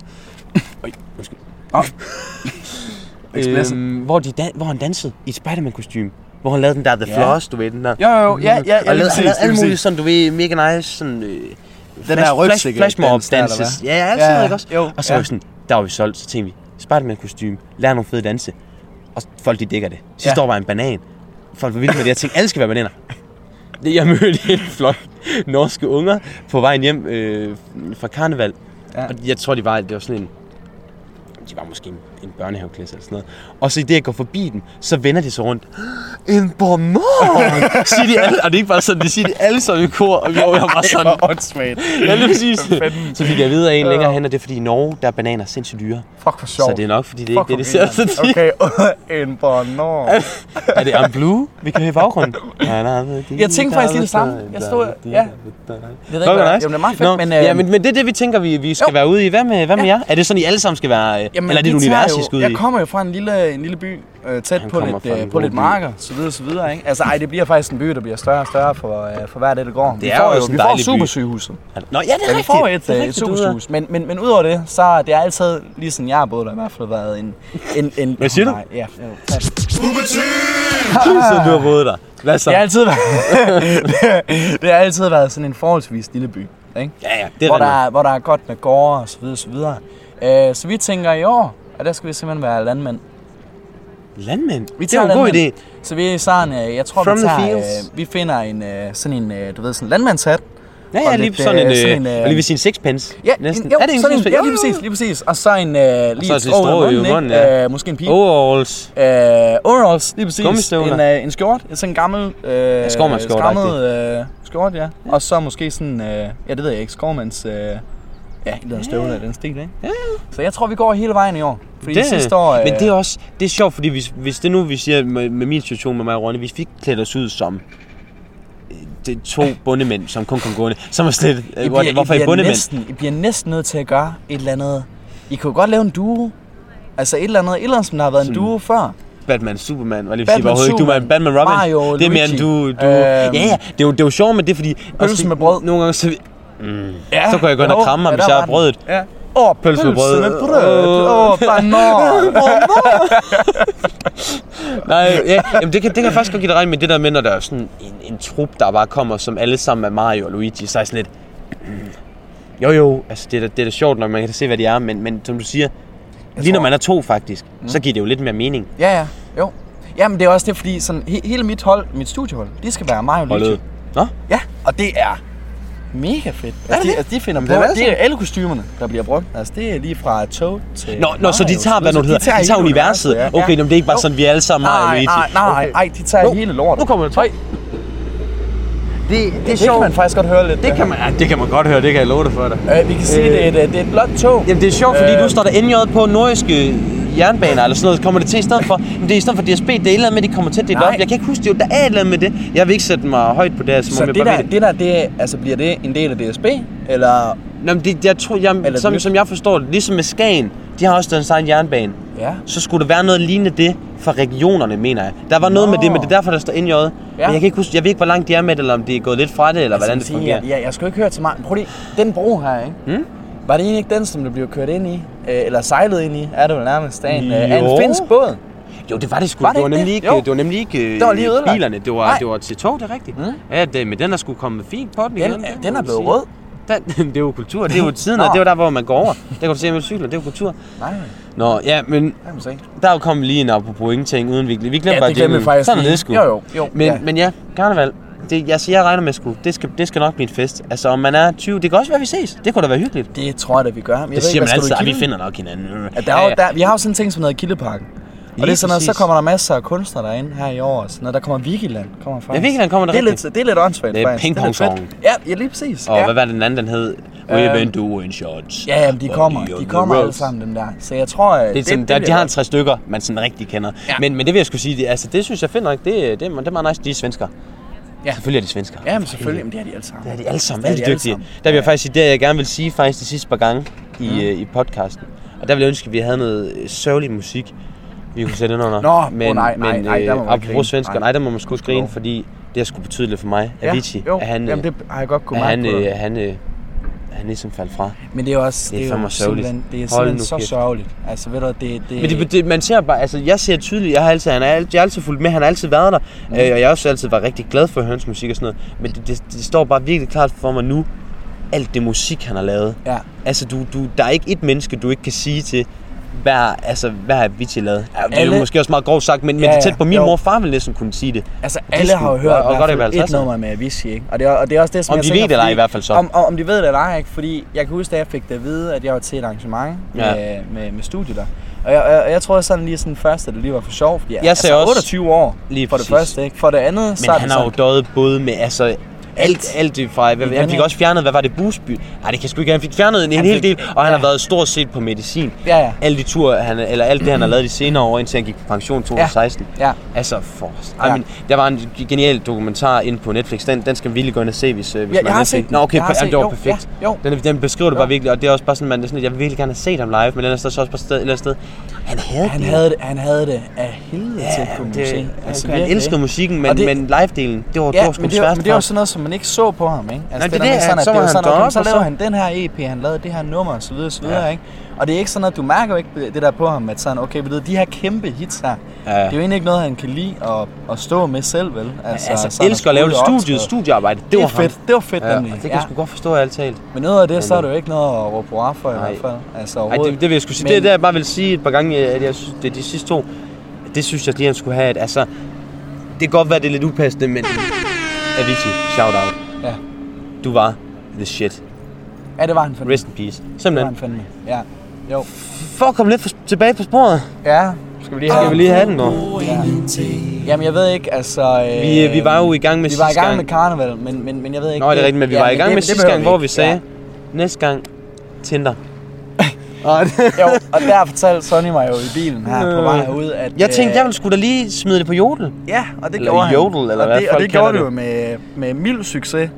Speaker 1: Øj, undskyld. *laughs*
Speaker 2: Åh. Explicit.
Speaker 1: øhm, hvor, de dan- hvor han dansede i et Spider-Man kostume. Hvor han lavede den der The
Speaker 2: Ja.
Speaker 1: ja. Floss, du ved, den der.
Speaker 2: Jo, jo, jo. Ja, ja, ja,
Speaker 1: og
Speaker 2: lige
Speaker 1: lavede,
Speaker 2: præcis,
Speaker 1: han lavede
Speaker 2: lige
Speaker 1: alle mulige
Speaker 2: præcis.
Speaker 1: sådan, du ved, mega nice, sådan... Øh, den
Speaker 2: der rygsække-
Speaker 1: Flash mob
Speaker 2: dans der, eller
Speaker 1: danses.
Speaker 2: hvad?
Speaker 1: Ja, ja, alt sådan
Speaker 2: Ja,
Speaker 1: noget, ikke også?
Speaker 2: jo,
Speaker 1: og så
Speaker 2: ja.
Speaker 1: var vi sådan, der var vi solgt, så tænkte vi, Spider-Man kostume, lær nogle fede danse. Og folk, de dækker det. Sidste
Speaker 2: Ja.
Speaker 1: ja. år var jeg en banan. Folk var vilde med det. Jeg tænkte, alle skal være bananer. Det- Jeg *laughs* mødte en flok norske unger på vejen hjem øh, fra karneval.
Speaker 2: Ja.
Speaker 1: Ja. Og jeg tror, de var, det var sådan en de var måske en, en børnehaveklasse eller sådan noget. Og så i det, jeg går forbi dem, så vender de sig rundt. "Ah, En bonbon! *laughs* siger de alle, og det er ikke bare sådan, det siger de alle sammen i kor, og jeg var bare sådan,
Speaker 2: Hvor åndssvagt.
Speaker 1: *laughs* ja, lige præcis.
Speaker 2: fanden.
Speaker 1: *laughs* Så fik jeg videre en
Speaker 2: Ja.
Speaker 1: længere hen, og det er fordi i Norge, der er bananer sindssygt dyre.
Speaker 2: *laughs* Fuck, hvor sjovt.
Speaker 1: Så det er nok, fordi det er ikke det, det ser sådan okay.
Speaker 2: Okay, *laughs* en bonor.
Speaker 1: Er det I'm Blue, vi kan høre i *laughs* baggrunden? Nej, nej, det-
Speaker 2: Jeg tænkte faktisk lige det samme. Jeg stod- ja. ved
Speaker 1: Nå,
Speaker 2: hvad-
Speaker 1: hvor
Speaker 2: Jamen, det er meget fedt,
Speaker 1: Nå,
Speaker 2: men... øhm,
Speaker 1: men, øh, ja, men, men det er det, vi tænker, vi, vi skal
Speaker 2: Jo.
Speaker 1: jo. være ude i. Hvad med, hvad med jer? Er det sådan, I alle sammen skal være... Øh,
Speaker 2: Jamen,
Speaker 1: eller er det et
Speaker 2: vi tager
Speaker 1: univers,
Speaker 2: jo-
Speaker 1: I skal ud i?
Speaker 2: Jeg kommer jo fra en lille, en lille by, øh, tæt
Speaker 1: Han
Speaker 2: på
Speaker 1: kommer
Speaker 2: lidt,
Speaker 1: fra en
Speaker 2: øh, på lidt
Speaker 1: god by.
Speaker 2: marker, så videre, så videre, ikke? Altså, ej, det bliver faktisk en by, der bliver større og større for, øh, for hver dag, det går. vi
Speaker 1: er
Speaker 2: får
Speaker 1: jo
Speaker 2: vi
Speaker 1: sådan en
Speaker 2: får
Speaker 1: dejlig by.
Speaker 2: supersygehuset.
Speaker 1: Nå, ja, det er
Speaker 2: Ja, vi
Speaker 1: rigtigt.
Speaker 2: får et,
Speaker 1: det er
Speaker 2: øh, et
Speaker 1: rigtigt, du ved.
Speaker 2: supersygehus. Men, men, men udover det, så er det altid, lige sådan jeg har boet der, i hvert fald været en... en, en
Speaker 1: Hvad siger du?
Speaker 2: Nej, Ja, jo, tak.
Speaker 1: Så du har boet der. Hvad så?
Speaker 2: det har altid været, *laughs* det har altid været sådan en forholdsvis lille by, ikke?
Speaker 1: Ja, ja, det er
Speaker 2: hvor, der
Speaker 1: rigtigt.
Speaker 2: er, hvor der er godt med gårde og så videre, så videre. Øh, så vi tænker i år, at der skal vi simpelthen være landmænd.
Speaker 1: Landmænd.
Speaker 2: Vi
Speaker 1: det er jo en god idé.
Speaker 2: Så vi er sådan, øh, jeg tror,
Speaker 1: From
Speaker 2: vi
Speaker 1: the
Speaker 2: tager,
Speaker 1: fields.
Speaker 2: øh, vi finder en, øh, sådan en, øh, du ved, sådan en landmandshat.
Speaker 1: Ja,
Speaker 2: Og
Speaker 1: ja, lige
Speaker 2: lidt,
Speaker 1: sådan
Speaker 2: øh,
Speaker 1: en... Øh,
Speaker 2: sådan en, øh,
Speaker 1: og lige ved sin sixpence.
Speaker 2: Ja,
Speaker 1: Næsten.
Speaker 2: En, jo,
Speaker 1: er det en
Speaker 2: sådan en,
Speaker 1: sixpence?
Speaker 2: ja, lige præcis, lige præcis. Og så en øh, lige
Speaker 1: så
Speaker 2: et
Speaker 1: et
Speaker 2: strå
Speaker 1: strå
Speaker 2: over
Speaker 1: i
Speaker 2: munden,
Speaker 1: munden,
Speaker 2: ikke?
Speaker 1: ja.
Speaker 2: Øh, måske en pibe.
Speaker 1: Overalls.
Speaker 2: Øh, overalls, lige præcis.
Speaker 1: Gummistøvler.
Speaker 2: En, øh, en skjort, sådan en gammel øh,
Speaker 1: skovmandsskjort,
Speaker 2: skrammet øh, skjort, ja. Og så måske sådan, øh, ja det ved jeg ikke, skovmands, øh, ja, en eller anden støvle af den stil, ikke?
Speaker 1: Ja,
Speaker 2: Så jeg tror, vi går hele vejen i år. Fordi
Speaker 1: Det,
Speaker 2: sidste år... øh,
Speaker 1: men det er også det er sjovt, fordi hvis, hvis det nu, vi siger med, med min situation med mig og Ronny, hvis vi ikke klædte os ud som øh, det er to bundemænd, som kun kom gående, så er man slet, øh,
Speaker 2: Ah. I
Speaker 1: what-
Speaker 2: bliver,
Speaker 1: hvorfor
Speaker 2: I
Speaker 1: er I
Speaker 2: bliver
Speaker 1: bundemænd?
Speaker 2: næsten, I bliver næsten nødt til at gøre et eller andet. I kunne godt lave en duo. Altså et eller andet, et eller andet, som der har været en
Speaker 1: Sådan-
Speaker 2: duo før.
Speaker 1: Batman, Superman, var lige
Speaker 2: Batman,
Speaker 1: Batman, overhovedet ikke. Du var en
Speaker 2: Superman,
Speaker 1: Batman, Robin.
Speaker 2: Mario,
Speaker 1: det er mere
Speaker 2: Luigi.
Speaker 1: end du... du
Speaker 2: Øhm,
Speaker 1: ja, ja, det er, jo, det er jo sjovt med det, er fordi... også-
Speaker 2: med brød.
Speaker 1: Nogle gange, så...
Speaker 2: Ja,
Speaker 1: Så kunne jeg gå ind og kramme ham,
Speaker 2: ja,
Speaker 1: hvis jeg
Speaker 2: der var
Speaker 1: har
Speaker 2: den.
Speaker 1: brødet.
Speaker 2: Ja. Åh, oh, pølse med brød. Pølse med brød. Åh, oh,
Speaker 1: *laughs*
Speaker 2: banan.
Speaker 1: Nej, ja, jamen det, kan, det kan jeg faktisk godt give dig ret i, men det der med, når der er sådan en, en trup, der bare kommer, som alle sammen er Mario og Luigi, så er jeg sådan lidt... mm, Jo jo, altså det er da, det er da sjovt nok, man kan da se, hvad de er, men, men som du siger, lige
Speaker 2: tror- Mm.
Speaker 1: når man er to faktisk, så giver det jo lidt mere mening.
Speaker 2: Ja, ja. Jo. Jamen, det er også det, fordi sådan, he- hele mit hold, mit studiehold, de skal være mig og
Speaker 1: Holdet.
Speaker 2: Luigi.
Speaker 1: Nå?
Speaker 2: Ja, og det er mega fedt. Altså, de, altså, de finder på,
Speaker 1: det er det
Speaker 2: det er alle kostymerne, der bliver brugt. Altså, det er lige fra tog til...
Speaker 1: Nå, nå, så de
Speaker 2: Mario,
Speaker 1: tager, hvad nu det
Speaker 2: videre.
Speaker 1: hedder, de tager,
Speaker 2: hele
Speaker 1: universet.
Speaker 2: ja.
Speaker 1: Okay, nå, men det er ikke bare
Speaker 2: Jo.
Speaker 1: sådan, vi er alle sammen Mario og
Speaker 2: Nej,
Speaker 1: Luigi.
Speaker 2: nej, nej, nej, de tager hele lortet.
Speaker 1: Nu kommer der tøj. Det, det er
Speaker 2: Det kan man faktisk godt høre lidt.
Speaker 1: Det kan, man, ja, det kan man godt høre, det kan jeg love dig for dig.
Speaker 2: Øh, vi kan sige, det, er et, øh, det er et blåt tog.
Speaker 1: Jamen det er sjovt, fordi
Speaker 2: Øh.
Speaker 1: øh... du står der NJ på nordiske øh, jernbaner eller sådan noget, kommer det til i stedet for. Men det er i stedet for DSB, det er et eller andet med, at de kommer til at dele
Speaker 2: Nej.
Speaker 1: op. Jeg kan ikke huske det, jo, der er et eller andet med det. Jeg vil ikke sætte mig højt på det, her, som
Speaker 2: Så
Speaker 1: om jeg
Speaker 2: det
Speaker 1: bare ved
Speaker 2: der,
Speaker 1: det.
Speaker 2: det der, det er, altså bliver det en del af DSB? Eller,
Speaker 1: Nå, men det, jeg tror, jeg,
Speaker 2: det
Speaker 1: som,
Speaker 2: nyt?
Speaker 1: som jeg forstår det, ligesom med Skagen, de har også deres egen jernbane.
Speaker 2: ja.
Speaker 1: Så skulle der være noget lignende det fra regionerne, mener jeg. Der var noget
Speaker 2: Nå.
Speaker 1: med det, men det er derfor, der står NJ. Ja. Men jeg kan ikke huske, jeg ved ikke, hvor langt de er med det, eller om det er gået lidt fra det, eller hvordan det
Speaker 2: Sådan Altså, siger
Speaker 1: fungerer.
Speaker 2: jeg, ja, jeg skulle ikke høre til meget. Men Prøv lige, den bro her, ikke?
Speaker 1: Hmm?
Speaker 2: Var det egentlig ikke den, som der blev kørt ind i? Øh, eller sejlet ind i? Er det vel nærmest af en, øh, af en
Speaker 1: Jo.
Speaker 2: finsk båd?
Speaker 1: Jo, det var det sgu.
Speaker 2: Var det
Speaker 1: det, var
Speaker 2: ikke
Speaker 1: nemlig
Speaker 2: det?
Speaker 1: ikke,
Speaker 2: Jo.
Speaker 1: det var nemlig ikke øh,
Speaker 2: Det var lige ødelagt.
Speaker 1: bilerne. Det var,
Speaker 2: Nej.
Speaker 1: det var til tog, det er rigtigt.
Speaker 2: Mm.
Speaker 1: Ja, det, men den er sgu kommet fint på den igen.
Speaker 2: Den,
Speaker 1: det må
Speaker 2: øh, den er
Speaker 1: man
Speaker 2: blevet
Speaker 1: sige.
Speaker 2: rød.
Speaker 1: *laughs* Den, det er jo kultur. Det er jo tiden,
Speaker 2: Nå.
Speaker 1: og det er jo der, hvor man går over. Der kan du se med cykler, det er jo kultur.
Speaker 2: Nej,
Speaker 1: Nå, ja, men
Speaker 2: det kan man se.
Speaker 1: der er jo kommet lige en apropos ingenting uden vi, vi glemmer
Speaker 2: Ja,
Speaker 1: bare
Speaker 2: det glemmer vi
Speaker 1: jinglen.
Speaker 2: faktisk
Speaker 1: Sådan er
Speaker 2: lige.
Speaker 1: det sgu.
Speaker 2: Jo, jo, jo,
Speaker 1: Men
Speaker 2: ja.
Speaker 1: ja, men ja karneval. Det, jeg, jeg regner med sgu, det skal, det skal nok blive en fest. Altså, om man er 20, det kan også være, vi ses. Det kunne da være hyggeligt.
Speaker 2: Det tror jeg da, vi gør. Men jeg ved
Speaker 1: Det
Speaker 2: ikke,
Speaker 1: siger man
Speaker 2: hvad skal du i
Speaker 1: altid, at vi
Speaker 2: Kilden?
Speaker 1: finder nok hinanden.
Speaker 2: Ja, der er, jo- der, vi har jo sådan en ting, som hedder Kildeparken. Og
Speaker 1: Lige
Speaker 2: det er sådan noget, så
Speaker 1: præcis.
Speaker 2: kommer der masser af kunstnere derinde her i år. og Sådan noget. Der kommer Vigiland. Kommer faktisk.
Speaker 1: Ja, Vigeland kommer der
Speaker 2: det er lidt,
Speaker 1: rigtig.
Speaker 2: Det er lidt åndssvagt,
Speaker 1: Det er
Speaker 2: faktisk. lidt
Speaker 1: pingpong-songen.
Speaker 2: fedt. Ja, ja, lige præcis.
Speaker 1: Og
Speaker 2: ja. Øhm,
Speaker 1: hvad var den anden, den hed? We've been doing shots.
Speaker 2: Ja, jamen, de kommer.
Speaker 1: Body on
Speaker 2: De
Speaker 1: the
Speaker 2: kommer alle
Speaker 1: ropes.
Speaker 2: sammen, dem der. Så jeg tror,
Speaker 1: Det er sådan, det, der, de har en tre stykker, man sådan rigtig kender.
Speaker 2: Ja.
Speaker 1: Ja. Men, men det vil jeg skulle sige, det, altså, det synes jeg fedt nok, det, det, det, er- det er meget nice, de er svensker.
Speaker 2: Ja.
Speaker 1: Ja. Selvfølgelig er de svensker.
Speaker 2: Ja, men selvfølgelig. Jamen, det har de alle sammen.
Speaker 1: Det er de alle sammen, alle
Speaker 2: de
Speaker 1: de
Speaker 2: alle
Speaker 1: dygtige.
Speaker 2: sammen.
Speaker 1: Der vil jeg faktisk sige, det jeg gerne vil sige faktisk de sidste par gange i, mm. øh, i podcasten. Og der ville jeg ønske, at vi havde noget øh, sørgelig musik, vi kunne sætte ind under.
Speaker 2: Nå, åh, nej, nej,
Speaker 1: men, øh,
Speaker 2: nej, der må man grine.
Speaker 1: apropos svensker,
Speaker 2: Nej.
Speaker 1: nej, der må man sgu
Speaker 2: du
Speaker 1: grine,
Speaker 2: lov.
Speaker 1: fordi det har sgu betydet lidt for mig.
Speaker 2: Ja,
Speaker 1: Avicii,
Speaker 2: jo.
Speaker 1: at han,
Speaker 2: Jamen,
Speaker 1: øh,
Speaker 2: det har jeg godt kunne
Speaker 1: at
Speaker 2: mærke
Speaker 1: han,
Speaker 2: på
Speaker 1: øh,
Speaker 2: dig.
Speaker 1: han, øh, han ligesom faldt fra.
Speaker 2: Men det er jo også
Speaker 1: det er
Speaker 2: det er jo
Speaker 1: fandme sørgeligt.
Speaker 2: simpelthen, det er
Speaker 1: Hold
Speaker 2: simpelthen
Speaker 1: nu
Speaker 2: så
Speaker 1: kæft.
Speaker 2: sørgeligt. Altså, ved du, det, det,
Speaker 1: Men det, det, man ser bare, altså jeg ser tydeligt, jeg har altid, han er, alt- jeg har altid fulgt med, han har altid været der, mm. øh, og jeg har også altid været rigtig glad for hans musik og sådan noget, men det, det, det, står bare virkelig klart for mig nu, alt det musik, han har lavet.
Speaker 2: Ja.
Speaker 1: Altså, du, du, der er ikke et menneske, du ikke kan sige til, hvad, altså, hvad har Avicii lavet? Ja, det er
Speaker 2: Alle-
Speaker 1: jo måske også meget grovt sagt, men, men
Speaker 2: Ja,
Speaker 1: det er
Speaker 2: ja.
Speaker 1: tæt på min
Speaker 2: Jo.
Speaker 1: mor og far vil næsten kunne sige det.
Speaker 2: Altså, alle har jo
Speaker 1: skulle-
Speaker 2: hørt
Speaker 1: og- og
Speaker 2: i hvert
Speaker 1: godt i
Speaker 2: fald et
Speaker 1: 50'erne.
Speaker 2: nummer med Avicii, ikke? Og det, er, og det er også det, som
Speaker 1: Om
Speaker 2: jeg
Speaker 1: de
Speaker 2: tænker,
Speaker 1: ved det eller ej
Speaker 2: fordi-
Speaker 1: i hvert fald så.
Speaker 2: Om, om, om de ved det eller ej, ikke? Fordi jeg kan huske, da jeg fik det at vide, at jeg var til et arrangement
Speaker 1: Ja.
Speaker 2: med, med, med studiet der. Og jeg, og jeg tror sådan lige sådan først, at det lige var for sjovt. fordi
Speaker 1: Jeg sagde også-
Speaker 2: 28 år,
Speaker 1: Lige
Speaker 2: for det
Speaker 1: præcis.
Speaker 2: første, ikke? For det andet,
Speaker 1: Men
Speaker 2: så er
Speaker 1: han
Speaker 2: det
Speaker 1: har jo
Speaker 2: sådan,
Speaker 1: døjet både med, altså, alt, alt det fra, hvad,
Speaker 2: Men
Speaker 1: han
Speaker 2: han
Speaker 1: fik
Speaker 2: er-
Speaker 1: også fjernet, hvad var det, Busby? Nej, det kan jeg sgu ikke, han fik fjernet en, en
Speaker 2: Han
Speaker 1: hel
Speaker 2: fik-
Speaker 1: del, og han
Speaker 2: ja.
Speaker 1: har været stort set på medicin.
Speaker 2: Ja, ja.
Speaker 1: Alle de ture, han, eller alt det, han har lavet de senere år, indtil han gik på pension 2016.
Speaker 2: Ja.
Speaker 1: Altså, for... Ej,
Speaker 2: Ja.
Speaker 1: men, der var en genial dokumentar inde på Netflix, den, den skal vi lige gå ind og se, hvis, øh, hvis
Speaker 2: Ja,
Speaker 1: man
Speaker 2: jeg har
Speaker 1: har set
Speaker 2: set
Speaker 1: Nå, okay,
Speaker 2: den. Jeg har
Speaker 1: jamen,
Speaker 2: set-
Speaker 1: det var
Speaker 2: jo,
Speaker 1: perfekt.
Speaker 2: ja, jo.
Speaker 1: Den, den beskriver det bare
Speaker 2: Jo.
Speaker 1: virkelig, og det er også bare sådan, man, det er sådan, at jeg vil virkelig gerne have set ham live, men ellers er der så også bare sted, et eller andet sted. Han havde
Speaker 2: han
Speaker 1: det.
Speaker 2: havde det, han havde det af helvede ja, til, kunne man
Speaker 1: det,
Speaker 2: sige.
Speaker 1: altså, han
Speaker 2: virkelig,
Speaker 1: elskede
Speaker 2: ikke?
Speaker 1: musikken,
Speaker 2: Og
Speaker 1: men,
Speaker 2: det-
Speaker 1: men live-delen, det var, det
Speaker 2: Ja,
Speaker 1: var sgu
Speaker 2: men
Speaker 1: men
Speaker 2: det, var,
Speaker 1: svært
Speaker 2: men det
Speaker 1: for
Speaker 2: var
Speaker 1: ham.
Speaker 2: sådan noget, som man ikke så på ham, ikke?
Speaker 1: Nej, det
Speaker 2: der
Speaker 1: er
Speaker 2: med
Speaker 1: det,
Speaker 2: sådan,
Speaker 1: at så var
Speaker 2: det er jo
Speaker 1: han
Speaker 2: sådan, okay,
Speaker 1: deroppe,
Speaker 2: så
Speaker 1: og så-
Speaker 2: laver han den her EP, han lavede det her nummer, og så videre, og så videre,
Speaker 1: Ja.
Speaker 2: ikke? Og det er ikke sådan, at du mærker jo ikke det der på ham, at sådan, okay, ved du, de her kæmpe hits her,
Speaker 1: Ja.
Speaker 2: det er jo egentlig ikke noget, han kan lide at, at stå med selv, vel?
Speaker 1: Altså, altså
Speaker 2: sådan
Speaker 1: elsker at lave det
Speaker 2: skulle
Speaker 1: studiet,
Speaker 2: optræde.
Speaker 1: studiearbejde, det,
Speaker 2: Det
Speaker 1: var
Speaker 2: var
Speaker 1: ham.
Speaker 2: fedt, det var fedt
Speaker 1: Ja, og
Speaker 2: nemlig.
Speaker 1: det kan
Speaker 2: ja.
Speaker 1: jeg sgu godt forstå, ærligt talt.
Speaker 2: Men ud af det, så er
Speaker 1: Men,
Speaker 2: det jo ikke noget at råbe hurra for i
Speaker 1: nej.
Speaker 2: hvert fald. Altså
Speaker 1: Ej, det,
Speaker 2: overhovedet.
Speaker 1: det vil jeg sgu sige. Men...
Speaker 2: Men-
Speaker 1: Det er der, jeg bare vil sige et par gange, øh, at jeg synes, det er de sidste to. Det synes jeg lige, han skulle have et, altså... Det kan godt være, det er lidt upassende, men... Avicii, shout out.
Speaker 2: Ja.
Speaker 1: Du var the shit.
Speaker 2: Ja, det var han fandme.
Speaker 1: Rest in peace.
Speaker 2: Det var
Speaker 1: Simpelthen.
Speaker 2: han fandme. Ja. Jo.
Speaker 1: For at komme lidt for, tilbage på sporet,
Speaker 2: Ja. Skal vi lige
Speaker 1: skal vi lige have den nu.
Speaker 2: Jamen, jeg ved ikke, altså... Øh,
Speaker 1: Vi, øh, vi var jo i gang med
Speaker 2: Vi var i
Speaker 1: sidste
Speaker 2: gang
Speaker 1: gang.
Speaker 2: med karneval, men, men, men jeg ved ikke...
Speaker 1: Nå, det er rigtigt, men vi var i gang
Speaker 2: det-
Speaker 1: med
Speaker 2: det
Speaker 1: sidste
Speaker 2: behøver
Speaker 1: gang, hvor vi
Speaker 2: ikke.
Speaker 1: sagde... Næste gang, Tinder.
Speaker 2: Ja. Jo, og der fortalte Sonny mig jo i bilen her på vej herud, at...
Speaker 1: Jeg tænkte,
Speaker 2: øh,
Speaker 1: jeg ville sgu da lige smide det på jodel.
Speaker 2: Ja, og det
Speaker 1: eller
Speaker 2: gjorde han.
Speaker 1: jodel, eller
Speaker 2: og
Speaker 1: hvad
Speaker 2: det, og
Speaker 1: folk
Speaker 2: det gjorde
Speaker 1: kalder
Speaker 2: du jo med, med mild succes.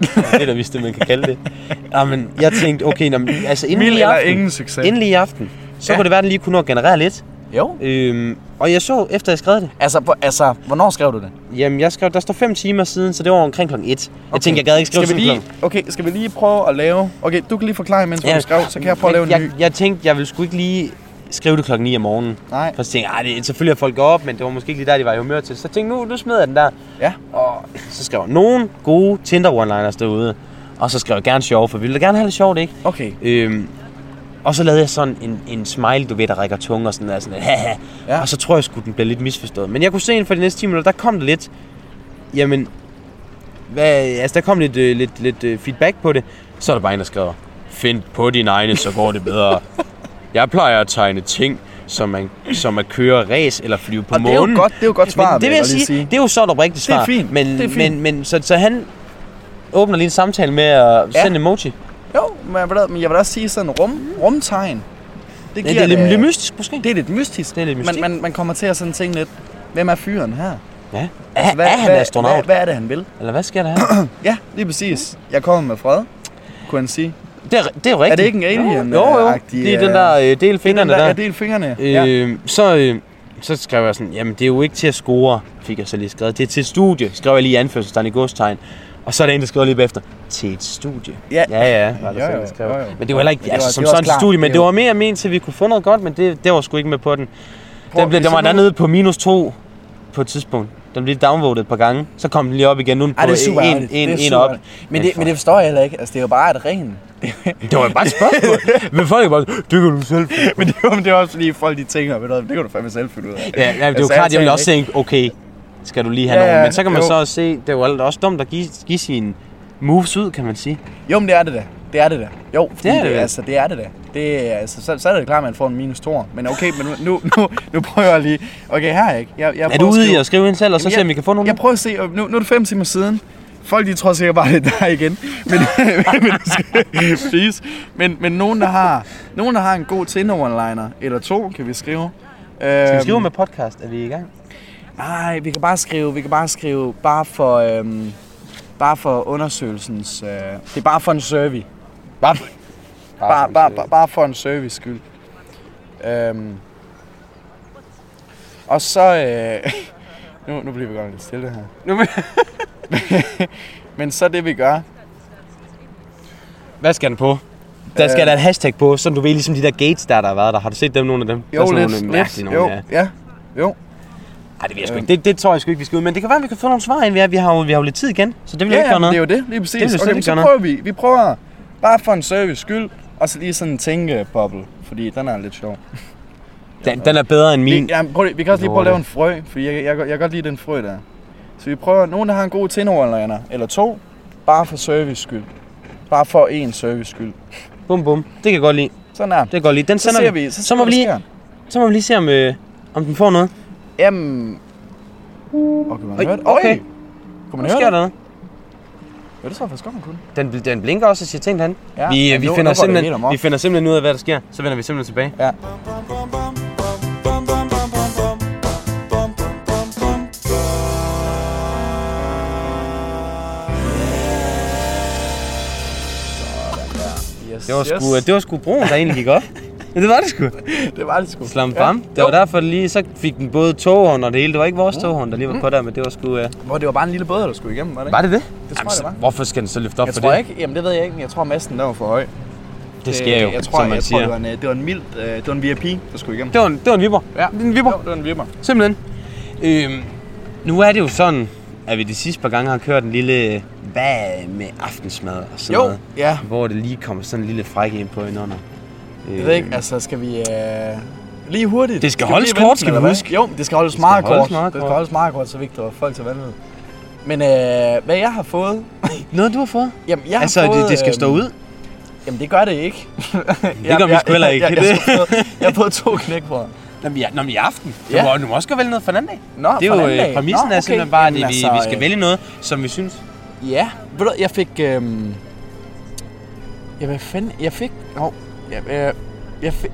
Speaker 1: det er da vist det, man kan kalde det. *laughs* Jamen, jeg tænkte, okay, nå, men, altså inden
Speaker 2: Mild
Speaker 1: lige i
Speaker 2: eller
Speaker 1: aften,
Speaker 2: ingen succes.
Speaker 1: Inden lige i aften, så
Speaker 2: Ja.
Speaker 1: ja. kunne det være, at den lige kunne nå at generere lidt.
Speaker 2: Jo.
Speaker 1: Øhm, og jeg så, efter jeg skrev det,
Speaker 2: Altså, hvor- altså, hvornår skrev du det?
Speaker 1: jamen jeg skrev, der står 5 timer siden, så det var omkring kl. 1. Jeg
Speaker 2: Okay.
Speaker 1: tænkte, jeg gad ikke skrive
Speaker 2: skal vi
Speaker 1: sådan
Speaker 2: lige, Okay, skal vi lige prøve at lave... Okay, du kan lige forklare, mens
Speaker 1: Ja.
Speaker 2: du skrev, så kan jeg prøve at lave en
Speaker 1: jeg,
Speaker 2: ny.
Speaker 1: jeg, jeg tænkte, jeg ville sgu ikke lige skrive det klokken 9 om morgenen.
Speaker 2: Nej.
Speaker 1: For så tænkte jeg, "Ej, det er selvfølgelig at folk går op, men det var måske ikke lige der, de var i humør til. Så tænkte jeg, nu, nu smider jeg den der.
Speaker 2: Ja.
Speaker 1: Og så skrev jeg, nogen gode Tinder one-liners derude. Og så skrev jeg gerne sjov, for vi ville da gerne have det sjovt, ikke?
Speaker 2: Okay.
Speaker 1: Øhm, og så lavede jeg sådan en, en smile, du ved, der rækker tunge og sådan der, sådan, haha.
Speaker 2: Ja.
Speaker 1: Ja. Og så tror jeg sgu, den blev lidt misforstået. Men jeg kunne se inden for de næste 10 minutter, der kom det lidt, jamen, hvad, altså der kom lidt, øh, lidt, lidt øh, feedback på det. Så er der bare en, der skriver, find på dine egne, så går det bedre.
Speaker 2: *laughs*
Speaker 1: jeg plejer at tegne ting, som, man, som at køre ræs eller flyve på
Speaker 2: Og det
Speaker 1: månen.
Speaker 2: er jo godt, det er jo godt svar,
Speaker 1: Men det vil jeg sige,
Speaker 2: lige
Speaker 1: sige, det er jo så et oprigtigt
Speaker 2: Det er
Speaker 1: svar.
Speaker 2: fint,
Speaker 1: Men,
Speaker 2: det er fint.
Speaker 1: Men, men så, så han åbner lige en samtale med at
Speaker 2: Ja.
Speaker 1: sende en emoji.
Speaker 2: Jo, men jeg vil, da- men jeg vil også sige sådan rum, rumtegn. Det,
Speaker 1: Det, det er
Speaker 2: da-
Speaker 1: lidt, lidt mystisk måske.
Speaker 2: Det er lidt mystisk.
Speaker 1: Det er lidt mystik.
Speaker 2: Man, man, man kommer til at sådan tænke lidt, hvem er fyren her?
Speaker 1: Ja. Er, er han
Speaker 2: Altså, hvad,
Speaker 1: astronaut?
Speaker 2: Hvad, hvad er det, han vil?
Speaker 1: Eller hvad sker der her?
Speaker 2: Ja, lige præcis. Jeg kommer med fred, kunne han sige.
Speaker 1: det, er, det er jo rigtigt.
Speaker 2: Er det ikke en alien?
Speaker 1: Jo, jo.
Speaker 2: øh, agtig,
Speaker 1: Det er den
Speaker 2: øh,
Speaker 1: der øh, del fingrene
Speaker 2: den der,
Speaker 1: der.
Speaker 2: ja, del fingrene. Ja.
Speaker 1: Øh, så, øh, så skrev jeg sådan, jamen det er jo ikke til at score, fik jeg så lige skrevet. Det er til et studie, skrev jeg lige i anførselstegn i godstegn. Og så er der en, der skriver lige bagefter, til et studie.
Speaker 2: Ja.
Speaker 1: ja, ja var der
Speaker 2: Jo,
Speaker 1: selv,
Speaker 2: jo,
Speaker 1: der skrev.
Speaker 2: jo, jo.
Speaker 1: Men det var heller ikke
Speaker 2: Men det
Speaker 1: altså,
Speaker 2: var-
Speaker 1: som
Speaker 2: det var
Speaker 1: sådan
Speaker 2: også
Speaker 1: et studie,
Speaker 2: klart,
Speaker 1: men
Speaker 2: det
Speaker 1: det
Speaker 2: var-
Speaker 1: var mere ment til, at vi kunne få noget godt, men det, det var sgu ikke med på den.
Speaker 2: Prøv,
Speaker 1: Den, blev,
Speaker 2: hvis
Speaker 1: den var
Speaker 2: jeg nu-
Speaker 1: dernede på minus 2 på et tidspunkt. Den blev downvotet et par gange, så kom den lige op igen, nu er den på
Speaker 2: Ej, det er super
Speaker 1: en, en,
Speaker 2: ærgerligt.
Speaker 1: en,
Speaker 2: det er
Speaker 1: en
Speaker 2: super
Speaker 1: op.
Speaker 2: ærgerligt. Men det, men det forstår jeg heller ikke. Altså, det er jo bare et ren.
Speaker 1: Det var jo bare et spørgsmål. Men folk er bare, det kan du selv finde
Speaker 2: *laughs* men det er, jo- det er også fordi, folk de tænker, ved du, hvad, det kan du fandme selv finde ud af.
Speaker 1: Ja, ja det er jo
Speaker 2: Altså,
Speaker 1: klart, jeg ville
Speaker 2: tænker
Speaker 1: også
Speaker 2: ikke-
Speaker 1: tænke, okay, skal du lige have
Speaker 2: Ja,
Speaker 1: ja, nogen.
Speaker 2: ja,
Speaker 1: Men så kan man
Speaker 2: jo.
Speaker 1: jo. så også se, det er jo alt- også dumt at give, give sine moves ud, kan man sige.
Speaker 2: Jo, men det er det da. Det er det da. Jo, fordi
Speaker 1: er det vel.
Speaker 2: altså, det er det da. Det, er- altså, så, så er det klart, at man får en minus 2. Men okay, men nu, nu, nu, nu prøver jeg lige. Okay, her ikke. Jeg, jeg
Speaker 1: Er du
Speaker 2: prøver
Speaker 1: ude i
Speaker 2: skrive-
Speaker 1: at skrive ind selv, og så
Speaker 2: Jamen,
Speaker 1: se, om vi kan få nogle?
Speaker 2: Jeg prøver at se, og nu, nu er det fem timer siden. Folk, de tror sikkert bare, *laughs* det er dig igen. Men, men, du skal- *laughs* please. men, men nogen, der har, nogen, der har en god tinder one-liner, eller to, kan vi skrive. Øhm,
Speaker 1: Skal vi skrive med podcast? Er vi i gang?
Speaker 2: Nej, vi kan bare skrive, vi kan bare skrive, bare for, øhm, bare for undersøgelsens, øh, det er bare for en survey. Bare, bare, bare, bare, bare for en service skyld. Øhm. Og så... Øh, *laughs* nu, nu bliver vi godt lidt stille *laughs* her.
Speaker 1: Nu
Speaker 2: *laughs* Men så det vi gør...
Speaker 1: Hvad skal den på? Der skal
Speaker 2: Øh.
Speaker 1: der et hashtag på, som du ved, ligesom de der gates, der, der har været der. Har du set dem, nogle af dem? Der er
Speaker 2: Jo,
Speaker 1: sådan
Speaker 2: lidt,
Speaker 1: nogle øh,
Speaker 2: lidt.
Speaker 1: mærkelige
Speaker 2: Jo,
Speaker 1: nogle, ja.
Speaker 2: ja. Jo.
Speaker 1: Ej, det ved jeg sgu ikke. Det, det tror jeg sgu ikke, vi skal ud. Men det kan være, vi kan få nogle svar ind. Vi har, vi har, jo, vi har jo lidt tid igen, så det vil
Speaker 2: Ja,
Speaker 1: jeg ikke
Speaker 2: ja,
Speaker 1: gøre
Speaker 2: men det
Speaker 1: noget.
Speaker 2: er jo det, lige
Speaker 1: Det vil
Speaker 2: præcis.
Speaker 1: slet
Speaker 2: Okay,
Speaker 1: ikke
Speaker 2: men så
Speaker 1: gøre noget.
Speaker 2: prøver vi. Vi prøver bare for en service skyld Og så lige sådan en tænkeboble, fordi den er lidt sjov.
Speaker 1: Den, den er bedre end min.
Speaker 2: Vi, ja, prøv, lige- vi kan også lige prøve at
Speaker 1: Lorte.
Speaker 2: lave en frø, for jeg, jeg, jeg, jeg kan godt lide den frø der. Så vi prøver, nogen der har en god tindoverlander, eller to, bare for service skyld. Bare for en service skyld.
Speaker 1: Bum, bum. Det kan jeg godt lide.
Speaker 2: Sådan der.
Speaker 1: Det kan jeg godt lide. Den
Speaker 2: Så
Speaker 1: sender
Speaker 2: ser
Speaker 1: vi.
Speaker 2: vi, så,
Speaker 1: så må
Speaker 2: ser
Speaker 1: vi
Speaker 2: hvad
Speaker 1: lige-
Speaker 2: der
Speaker 1: Så må vi lige se, om, øh, om den får noget.
Speaker 2: sker. Jamen... Okay, man
Speaker 1: Øj,
Speaker 2: hørte.
Speaker 1: okay.
Speaker 2: Okay. Kunne
Speaker 1: Nu
Speaker 2: man
Speaker 1: sker
Speaker 2: høre det?
Speaker 1: der noget.
Speaker 2: Ja, det tror jeg faktisk godt, man kunne.
Speaker 1: Den, bl- den blinker også og siger ting til han.
Speaker 2: Ja,
Speaker 1: Vi,
Speaker 2: men
Speaker 1: øh, vi,
Speaker 2: nu- nu går
Speaker 1: finder
Speaker 2: det helt
Speaker 1: simpelthen,
Speaker 2: amok.
Speaker 1: vi finder simpelthen ud af, hvad der sker. Så vender vi simpelthen tilbage.
Speaker 2: Yes,
Speaker 1: Det var sgu,
Speaker 2: yes.
Speaker 1: det var sgu broen, der egentlig gik op. *laughs* Ja, det var det sgu.
Speaker 2: det var det sgu.
Speaker 1: Slam bam. Ja. Mm. Det var derfor, det lige, så fik den både toghånd og det hele. Det var ikke vores toghånd, der lige var på der, men det var sgu... Uh...
Speaker 2: Hvor det var bare en lille båd, der skulle igennem, var det ikke?
Speaker 1: Var det det?
Speaker 2: Det tror jeg, det var.
Speaker 1: Hvorfor skal den så løfte op
Speaker 2: Jeg
Speaker 1: for
Speaker 2: tror
Speaker 1: det?
Speaker 2: ikke, jamen det ved jeg ikke, men jeg tror masten der var for høj. Øh,
Speaker 1: Det sker jo,
Speaker 2: jeg tror,
Speaker 1: som man
Speaker 2: jeg,
Speaker 1: siger.
Speaker 2: Tror, det, var en, øh, det var en mild, øh, det var en VIP, der skulle igennem.
Speaker 1: det, var en, det var en vipper.
Speaker 2: Ja.
Speaker 1: Det er en vipper.
Speaker 2: Jo, det var en vipper.
Speaker 1: Simpelthen. Øhm, nu er det jo sådan, at vi de sidste par gange har kørt en lille øh, hvad med aftensmad og sådan noget.
Speaker 2: ja.
Speaker 1: Hvor det lige kommer sådan en lille frække ind på hinanden. Øh,
Speaker 2: Jeg ved ikke, altså skal vi... Øh, lige hurtigt.
Speaker 1: Det skal
Speaker 2: vi
Speaker 1: holdes
Speaker 2: lige
Speaker 1: kort,
Speaker 2: vente,
Speaker 1: skal
Speaker 2: eller
Speaker 1: vi
Speaker 2: hvad?
Speaker 1: huske.
Speaker 2: Jo, det skal holdes, det skal meget,
Speaker 1: holdes
Speaker 2: kort.
Speaker 1: meget
Speaker 2: Det skal
Speaker 1: kort.
Speaker 2: holdes meget kort, så vi ikke driver folk til vanvid. Men øh, hvad jeg har fået...
Speaker 1: Noget du har fået?
Speaker 2: Jamen, jeg
Speaker 1: altså,
Speaker 2: har fået,
Speaker 1: det, det skal
Speaker 2: øhm,
Speaker 1: stå ud.
Speaker 2: Jamen, det gør det
Speaker 1: *laughs*
Speaker 2: ikke. *laughs*
Speaker 1: Det gør vi sgu heller ikke.
Speaker 2: Jeg, jeg, jeg, jeg, har fået- jeg har fået
Speaker 1: *laughs*
Speaker 2: to knækbrød.
Speaker 1: Nå, men, ja, nå, men i aften.
Speaker 2: Ja.
Speaker 1: Ja. Du, må, du må også godt vælge noget for en anden dag.
Speaker 2: Nå,
Speaker 1: Det er
Speaker 2: for
Speaker 1: jo
Speaker 2: en anden
Speaker 1: øh,
Speaker 2: dag.
Speaker 1: præmissen
Speaker 2: Nå,
Speaker 1: er
Speaker 2: okay.
Speaker 1: simpelthen bare, at vi,
Speaker 2: Jamen,
Speaker 1: vi
Speaker 2: altså,
Speaker 1: skal
Speaker 2: øh,
Speaker 1: vælge noget, som vi synes.
Speaker 2: Ja, ved du, jeg fik... Øhm... Ja, hvad fanden? Jeg fik... Jo, jeg, jeg, jeg fik...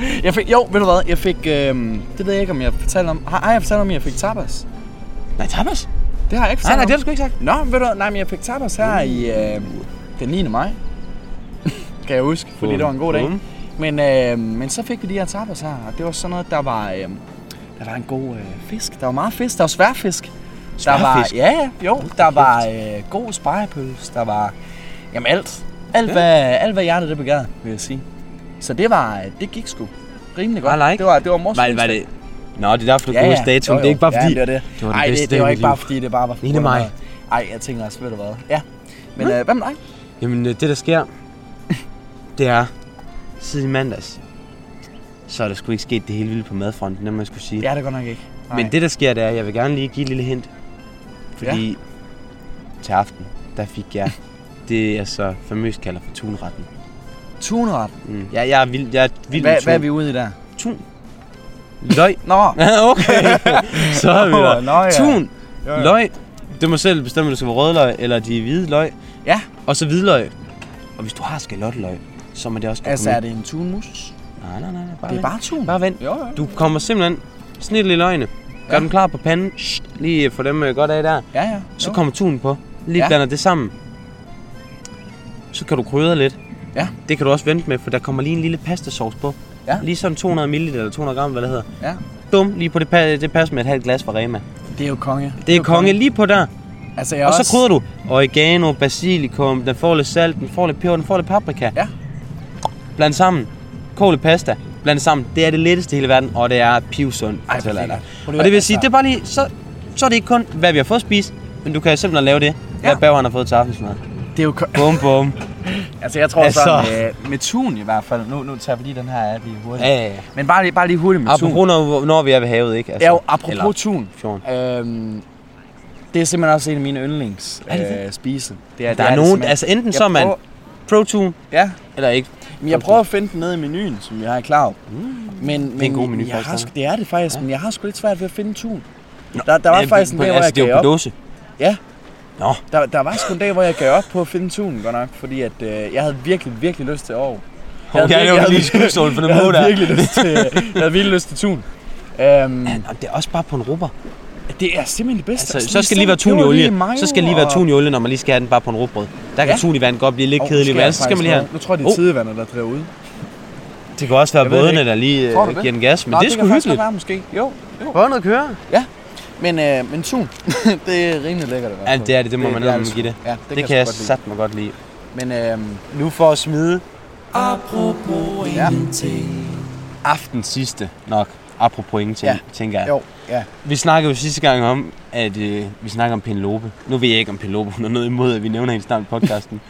Speaker 2: Nej! jeg fik... Jo, ved du hvad? Jeg fik... Øhm... Det ved jeg ikke, om jeg fortalte om... Har, har jeg fortalt om, at jeg fik tapas?
Speaker 1: Nej, tapas.
Speaker 2: Det har jeg ikke
Speaker 1: Nej,
Speaker 2: fortalt
Speaker 1: nej, det har
Speaker 2: om.
Speaker 1: du sgu ikke sagt.
Speaker 2: Nå, ved du hvad? Nej, men jeg fik tapas her i... Øh... Den 9. maj. *laughs* kan jeg huske, fordi det var en god dag.
Speaker 1: Bum.
Speaker 2: Men, øh, men så fik vi de her tapas her, og det var sådan noget, der var, øh, der var en god øh, fisk. Der var meget fisk, der var sværfisk. Der var,
Speaker 1: Sværfisk?
Speaker 2: ja, ja, jo, der var øh, god spejepøls, der var, jamen alt. Alt, hvad, alt hvad hjertet det begærede, vil jeg sige. Så det var, øh, det gik sgu rimelig godt.
Speaker 1: I like.
Speaker 2: Det var, det var morsomt.
Speaker 1: Var, var det... Nå, det er derfor, du kan huske datoen. Det
Speaker 2: jo,
Speaker 1: er
Speaker 2: jo.
Speaker 1: ikke bare fordi...
Speaker 2: Ja, det var det.
Speaker 1: det var den
Speaker 2: Ej,
Speaker 1: bedste
Speaker 2: det,
Speaker 1: dag i
Speaker 2: det var
Speaker 1: mit
Speaker 2: ikke bare
Speaker 1: liv.
Speaker 2: fordi, det bare var for
Speaker 1: 9. maj.
Speaker 2: Ej, jeg tænker også, ved du hvad. Ja. Men øh, hvad med dig?
Speaker 1: Jamen, øh, det der sker, det er, siden i mandags, så er der sgu ikke sket det hele vilde på madfronten, det må jeg skulle sige.
Speaker 2: Det er det godt nok ikke. Nej.
Speaker 1: Men det der sker, det er, at jeg vil gerne lige give et lille hint. Fordi ja. til aften, der fik
Speaker 2: *laughs*
Speaker 1: jeg det, jeg så famøst kalder for tunretten.
Speaker 2: Tunret.
Speaker 1: Mm. Jeg, jeg er vild, jeg er vild med
Speaker 2: Hvad,
Speaker 1: tun.
Speaker 2: hvad er vi ude i der?
Speaker 1: Tun.
Speaker 2: *laughs*
Speaker 1: Løg.
Speaker 2: Nå,
Speaker 1: Ja, okay. *laughs* så er vi der.
Speaker 2: Nå, ja.
Speaker 1: Tun.
Speaker 2: Jo, jo.
Speaker 1: Løg. Du må selv bestemme, om det skal være rødløg eller de hvide løg.
Speaker 2: Ja.
Speaker 1: Og så hvidløg. Og hvis du har skalotteløg, så må det også godt
Speaker 2: Altså,
Speaker 1: komme
Speaker 2: er det en tunmus?
Speaker 1: i. Nej, nej, nej. nej, Bare
Speaker 2: Det er
Speaker 1: vent.
Speaker 2: bare tun.
Speaker 1: Bare vent.
Speaker 2: Jo, jo.
Speaker 1: Du kommer simpelthen snit i løgene. Gør
Speaker 2: Ja.
Speaker 1: ja. dem klar på panden. Shh, lige få dem øh, godt af der.
Speaker 2: Ja, ja.
Speaker 1: Så
Speaker 2: Jo.
Speaker 1: kommer tunen på. Lige
Speaker 2: Ja.
Speaker 1: ja. blander det sammen. Så kan du krydre lidt.
Speaker 2: Ja.
Speaker 1: Det kan du også vente med, for der kommer lige en lille pastasauce på.
Speaker 2: Ja.
Speaker 1: Lige sådan 200 ml eller 200 gram, hvad det hedder.
Speaker 2: Ja.
Speaker 1: Dum, lige på det, pa- det pas med et halvt glas fra Rema.
Speaker 2: Det er jo konge.
Speaker 1: Det er konge lige på der.
Speaker 2: Altså, jeg
Speaker 1: Og
Speaker 2: er
Speaker 1: så
Speaker 2: også...
Speaker 1: krydrer du oregano, basilikum, den får lidt salt, den får lidt peber, den får lidt paprika.
Speaker 2: Ja.
Speaker 1: Bland sammen. Kog lidt pasta. Bland det sammen. Det er det letteste i hele verden, og det er pivsund,
Speaker 2: Ej,
Speaker 1: fortæller jeg dig.
Speaker 2: perfekt. Prøv lige
Speaker 1: Og det
Speaker 2: at- altså.
Speaker 1: vil sige, det er bare lige, så, så er det ikke kun, hvad vi har fået at spise, men du kan jo simpelthen lave det, hvad
Speaker 2: Ja.
Speaker 1: ja. bageren har fået til aftensmad.
Speaker 2: Det er jo konge.
Speaker 1: Bum,
Speaker 2: *laughs*
Speaker 1: bum.
Speaker 2: Altså, jeg tror
Speaker 1: Altså.
Speaker 2: sådan, øh, med tun i hvert fald. Nu, nu tager vi lige den her af lige hurtigt.
Speaker 1: Ja, ja, ja.
Speaker 2: Men bare lige, bare lige hurtigt med tun.
Speaker 1: Apropos, når, når vi er ved havet, ikke? Altså,
Speaker 2: Ja, jo, apropos
Speaker 1: eller
Speaker 2: tun.
Speaker 1: fjorden.
Speaker 2: Øhm, det er simpelthen også en af mine yndlings
Speaker 1: Er det
Speaker 2: øh, spise. Det er,
Speaker 1: Der er nogen, altså enten
Speaker 2: Jeg
Speaker 1: så er man
Speaker 2: prøver-
Speaker 1: pro-tune,
Speaker 2: Ja,
Speaker 1: eller ikke.
Speaker 2: men jeg prøver at finde den nede i menuen, som jeg har i klar mm. Men, men
Speaker 1: en god menu,
Speaker 2: jeg har,
Speaker 1: faktisk,
Speaker 2: sgu- det er det faktisk, ja. men jeg har sgu lidt svært ved at finde tun. Der, der var
Speaker 1: Ja,
Speaker 2: faktisk en
Speaker 1: på-
Speaker 2: dag, hvor
Speaker 1: altså,
Speaker 2: jeg
Speaker 1: det er
Speaker 2: gav
Speaker 1: jo
Speaker 2: op.
Speaker 1: på dåse.
Speaker 2: Ja.
Speaker 1: Nå.
Speaker 2: Der, der var sgu en dag, hvor jeg gav op på at finde tunen, godt nok, fordi at, øh, jeg havde virkelig, virkelig lyst til Aarhus. Jeg
Speaker 1: Okay, det var lige skudstålen for den
Speaker 2: jeg havde
Speaker 1: måde der.
Speaker 2: virkelig lyst til, jeg havde virkelig lyst til tun.
Speaker 1: *laughs*
Speaker 2: Øhm,
Speaker 1: Ja, og det er også bare på en rubber.
Speaker 2: det er simpelthen det bedste.
Speaker 1: Altså, så skal det lige være tun i olie. Så skal det lige være tun i olie, når man lige skal have den bare på en rugbrød. Der kan
Speaker 2: Ja.
Speaker 1: ja. tun i vand godt blive lidt kedelig, men så skal man lige have...
Speaker 2: Nu tror jeg, det er
Speaker 1: Oh.
Speaker 2: tidevandet, der driver ud.
Speaker 1: Det kan også være
Speaker 2: Jeg ved det
Speaker 1: bådene,
Speaker 2: ikke.
Speaker 1: der lige
Speaker 2: Tror du det?
Speaker 1: øh, giver den gas, men
Speaker 2: Nå,
Speaker 1: det er
Speaker 2: kan
Speaker 1: sgu
Speaker 2: faktisk
Speaker 1: hyggeligt.
Speaker 2: godt Være, måske. Jo, jo.
Speaker 1: Prøv noget at køre.
Speaker 2: Men, øh, men tun, *laughs* det er rimelig lækkert i hvert
Speaker 1: Ja,
Speaker 2: fald.
Speaker 1: det er det, det må man
Speaker 2: er
Speaker 1: nærmest
Speaker 2: sgu-
Speaker 1: give det.
Speaker 2: Ja, det,
Speaker 1: Det kan jeg
Speaker 2: sgu godt
Speaker 1: sat mig godt lide.
Speaker 2: lide. Men øhm,
Speaker 1: Nu for at smide
Speaker 2: ja,
Speaker 1: aften sidste nok. Apropos ingenting,
Speaker 2: Ja.
Speaker 1: ja. tænker jeg.
Speaker 2: jo, ja.
Speaker 1: Vi snakkede jo sidste gang om,
Speaker 2: *laughs*
Speaker 1: at øh, vi snakker om Penelope. Nu ved jeg ikke, om Penelope hun har noget imod, at vi nævner hende snart i podcasten.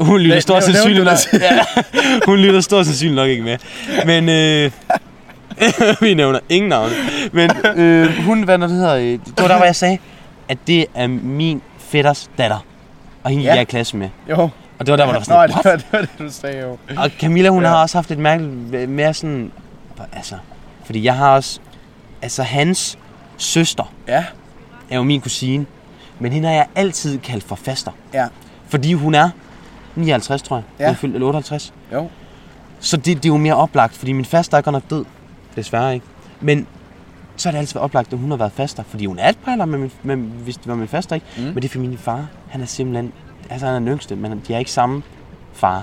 Speaker 1: Hun lytter
Speaker 2: Næ-
Speaker 1: stort
Speaker 2: nævn-
Speaker 1: sandsynligt
Speaker 2: nævn det
Speaker 1: nok.
Speaker 2: der.
Speaker 1: Ja, hun lytter stort sandsynligt nok ikke med. Men øh, *laughs* vi nævner ingen navne. Men øh, hun, hvad når det hedder, øh, det var der, hvor jeg sagde, at det er min fætters datter. Og hende ja.
Speaker 2: Ja.
Speaker 1: jeg er i klasse med.
Speaker 2: Jo.
Speaker 1: Og det var der, hvor der var sådan,
Speaker 2: Nå, det
Speaker 1: "What?"
Speaker 2: var, det var det, du sagde jo.
Speaker 1: Og Camilla, hun ja.
Speaker 2: Ja.
Speaker 1: har også haft et mærkeligt, øh, mere sådan, altså, fordi jeg har også, altså hans søster
Speaker 2: Ja.
Speaker 1: er jo min kusine, men hende har jeg altid kaldt for faster.
Speaker 2: Ja.
Speaker 1: Fordi hun er 59, tror jeg.
Speaker 2: Ja.
Speaker 1: Ja. Hun er fyldt- eller 58.
Speaker 2: Jo.
Speaker 1: Så det, det er jo mere oplagt, fordi min faster er godt nok død. Desværre ikke. Men så har det altid været oplagt, at hun har været faster. Fordi hun er et pejler, men, min, men hvis det var min faster, ikke? Mm.
Speaker 2: Mm.
Speaker 1: Men det er fordi min far, han er simpelthen... Altså, han er den yngste, men de er ikke samme far. De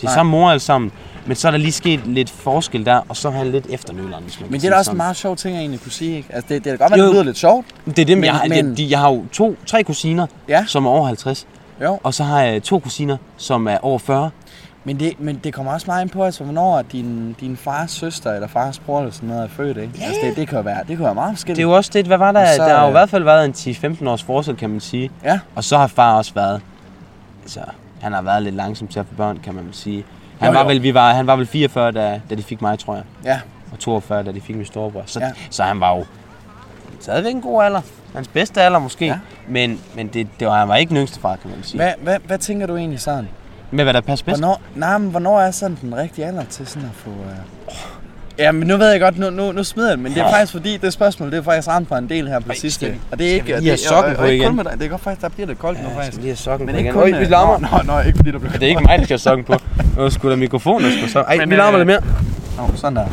Speaker 1: er
Speaker 2: Nej.
Speaker 1: samme mor alle sammen. Men så er der lige sket lidt forskel der, og så er han lidt efternøleren, hvis man kan
Speaker 2: Men det er
Speaker 1: sige
Speaker 2: da også en
Speaker 1: sådan.
Speaker 2: meget sjov ting, jeg egentlig kunne sige, ikke? Altså, det, det er da godt, at
Speaker 1: Jo.
Speaker 2: det lyder lidt sjovt.
Speaker 1: Det er det, men,
Speaker 2: Men-
Speaker 1: jeg, har,
Speaker 2: men-
Speaker 1: jeg, de, jeg har jo to, tre kusiner,
Speaker 2: Ja.
Speaker 1: som er over 50.
Speaker 2: Jo.
Speaker 1: Og så har jeg to kusiner, som er over 40.
Speaker 2: Men det, men det kommer også meget ind på, altså, hvornår at din, din fars søster eller fars bror eller sådan noget er født, ikke? Yeah. Altså, det, det kan jo være, det kan jo være meget forskelligt.
Speaker 1: Det er jo også det, hvad var der?
Speaker 2: Og
Speaker 1: Så,
Speaker 2: så,
Speaker 1: der har jo i
Speaker 2: øh,
Speaker 1: hvert fald været en 10-15 års forskel, kan man sige.
Speaker 2: Ja.
Speaker 1: Og så har far også været, altså, han har været lidt langsom til at få børn, kan man vel sige. Han,
Speaker 2: Jo,
Speaker 1: var,
Speaker 2: jo.
Speaker 1: Vel, vi var, han var vel 44, da, da de fik mig, tror jeg.
Speaker 2: Ja.
Speaker 1: Og 42, da de fik min storebror. Så, ja.
Speaker 2: Ja.
Speaker 1: så han var jo stadigvæk en god alder. Hans bedste alder måske. Ja.
Speaker 2: Ja.
Speaker 1: Men, men det, det var, han var ikke den yngste far, kan man sige. Hvad?
Speaker 2: Hvad, hvad, hvad tænker du egentlig sådan?
Speaker 1: Med hvad der passer bedst.
Speaker 2: Hvornår, nej, men hvornår er sådan den rigtige alder til sådan at få... Øh... Ja, men nu ved jeg godt, nu, nu, nu smider jeg den, men det er faktisk fordi, det spørgsmål, det er faktisk ramt på en del her på det
Speaker 1: skal
Speaker 2: sidste.
Speaker 1: vi-
Speaker 2: Og det er ikke...
Speaker 1: vi lige
Speaker 2: og
Speaker 1: have sokken
Speaker 2: og-
Speaker 1: på
Speaker 2: og ikke
Speaker 1: igen?
Speaker 2: kun Med dig. Det er godt faktisk, der bliver lidt koldt nu
Speaker 1: Jeg skal
Speaker 2: faktisk.
Speaker 1: altså, lige have sokken
Speaker 2: Men
Speaker 1: på
Speaker 2: ikke
Speaker 1: igen.
Speaker 2: kun...
Speaker 1: Øj, vi
Speaker 2: øh,
Speaker 1: larmer.
Speaker 2: Nå, nå, nå, ikke fordi der bliver
Speaker 1: Det er ikke mig, der skal have sokken på. Nu skulle der mikrofonen, der skulle så. Ej,
Speaker 2: Men,
Speaker 1: vi larmer lidt
Speaker 2: øh,
Speaker 1: mere.
Speaker 2: Nå, sådan der.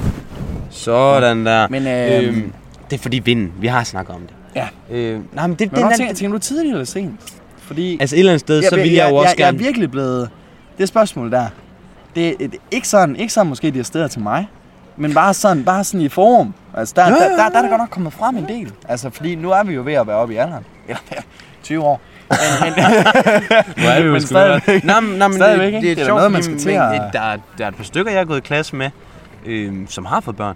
Speaker 1: Sådan der.
Speaker 2: Men, øhm,
Speaker 1: det er fordi vinden. Vi har snakket om det.
Speaker 2: Ja.
Speaker 1: Øhm, nej, men det,
Speaker 2: Men
Speaker 1: den,
Speaker 2: hvornår
Speaker 1: den,
Speaker 2: tænker, tænker du tidligt eller sent? Fordi...
Speaker 1: altså et eller andet sted, så ville jeg jo også
Speaker 2: jeg,
Speaker 1: gerne...
Speaker 2: Jeg er virkelig blevet... Det spørgsmål der, det er et, ikke sådan, ikke sådan måske de steder til mig, men bare sådan, bare sådan i forum. Altså, der, der, der, der, er der godt nok kommet frem en del. Altså, fordi nu er vi jo ved at være oppe i alderen. *laughs* Eller 20 år. Men, men,
Speaker 1: Hvor er det,
Speaker 2: Men
Speaker 1: men stadigvæk.
Speaker 2: stadigvæk.
Speaker 1: Nå, men, nå, men
Speaker 2: Øh, Stadigvæk,
Speaker 1: det,
Speaker 2: ikke?
Speaker 1: det, er,
Speaker 2: Det er da
Speaker 1: sjovt,
Speaker 2: noget, man
Speaker 1: fordi
Speaker 2: skal til
Speaker 1: men,
Speaker 2: at-
Speaker 1: øh, Der, er- der er et par stykker, jeg har gået i klasse med, øhm, som har fået børn.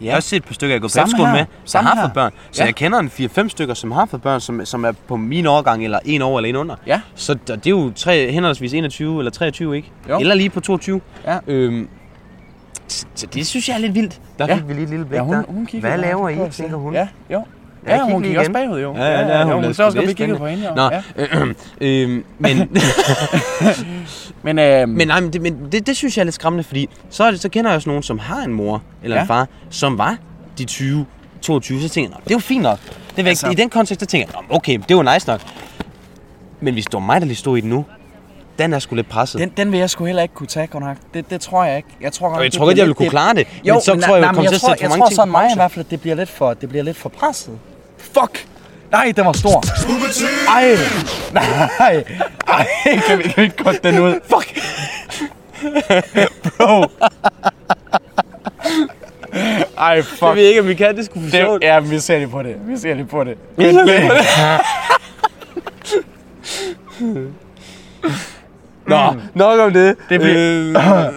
Speaker 1: Ja. Jeg har også set et par stykker, jeg har gået på
Speaker 2: Samme
Speaker 1: efterskole
Speaker 2: her.
Speaker 1: med, som
Speaker 2: Samme
Speaker 1: har
Speaker 2: her.
Speaker 1: fået børn. Så ja.
Speaker 2: Ja.
Speaker 1: jeg kender en 4-5 stykker, som har fået børn, som, som er på min årgang, eller en over eller en under.
Speaker 2: Ja.
Speaker 1: Så der, det er jo tre, henholdsvis 21 eller 23, ikke?
Speaker 2: Jo.
Speaker 1: Eller lige på 22.
Speaker 2: Ja.
Speaker 1: Øhm, så, så det synes jeg er lidt vildt. Der
Speaker 2: Ja.
Speaker 1: fik vi lige et lille blik
Speaker 2: ja, hun,
Speaker 1: der.
Speaker 2: hun kigger
Speaker 1: Hvad
Speaker 2: bare
Speaker 1: laver
Speaker 2: på
Speaker 1: I,
Speaker 2: os, ja.
Speaker 1: tænker hun.
Speaker 2: Ja, jo.
Speaker 1: jeg
Speaker 2: Ja, hun
Speaker 1: kigger
Speaker 2: gik også
Speaker 1: igen.
Speaker 2: bagud, jo.
Speaker 1: Ja, ja, det er hun.
Speaker 2: jo,
Speaker 1: Det
Speaker 2: hun
Speaker 1: er
Speaker 2: så også
Speaker 1: sgu
Speaker 2: godt, vi
Speaker 1: lidt
Speaker 2: kiggede på hende, jo.
Speaker 1: Nå,
Speaker 2: Ja.
Speaker 1: øhm, øhm, men, *laughs*
Speaker 2: Men, øh, men
Speaker 1: Men nej, men det, men det, det synes jeg er lidt skræmmende, fordi så, er det, så kender jeg også nogen, som har en mor eller ja. en
Speaker 2: Ja.
Speaker 1: far, som var de 20, 22, så tænker jeg, "Nå, det er jo fint nok. Det er altså.
Speaker 2: Altså-
Speaker 1: I den kontekst, der tænker jeg, "Nå, okay, det er jo nice nok. Men hvis det var mig, der lige stod i det nu, den er sgu lidt presset. Den,
Speaker 2: den, den vil jeg sgu heller ikke kunne tage, godt nok. Det, det tror jeg ikke. Jeg tror, godt
Speaker 1: og
Speaker 2: nok,
Speaker 1: jeg
Speaker 2: det
Speaker 1: tror godt,
Speaker 2: bliver
Speaker 1: jeg ville
Speaker 2: lidt
Speaker 1: kunne
Speaker 2: det-
Speaker 1: klare det, jo, men så
Speaker 2: nej,
Speaker 1: tror jeg,
Speaker 2: nej,
Speaker 1: jeg
Speaker 2: men
Speaker 1: kommer til at
Speaker 2: tror-
Speaker 1: sætte for
Speaker 2: jeg
Speaker 1: mange
Speaker 2: tror
Speaker 1: ting.
Speaker 2: sådan
Speaker 1: på
Speaker 2: mig i
Speaker 1: pause.
Speaker 2: hvert fald, at det bliver lidt for, det bliver lidt for presset. Fuck! Nej, den var stor. Ej, nej, ej, kan vi, kan vi ikke godt den ud? Fuck! Bro. Ej,
Speaker 1: Jeg
Speaker 2: fuck.
Speaker 1: ved ikke, om vi kan, det skulle for
Speaker 2: Det,
Speaker 1: sjovt.
Speaker 2: ja, vi ser lige på det. Vi ser lige på det.
Speaker 1: Nå, nok om Mm. det.
Speaker 2: Det Øh, bliver-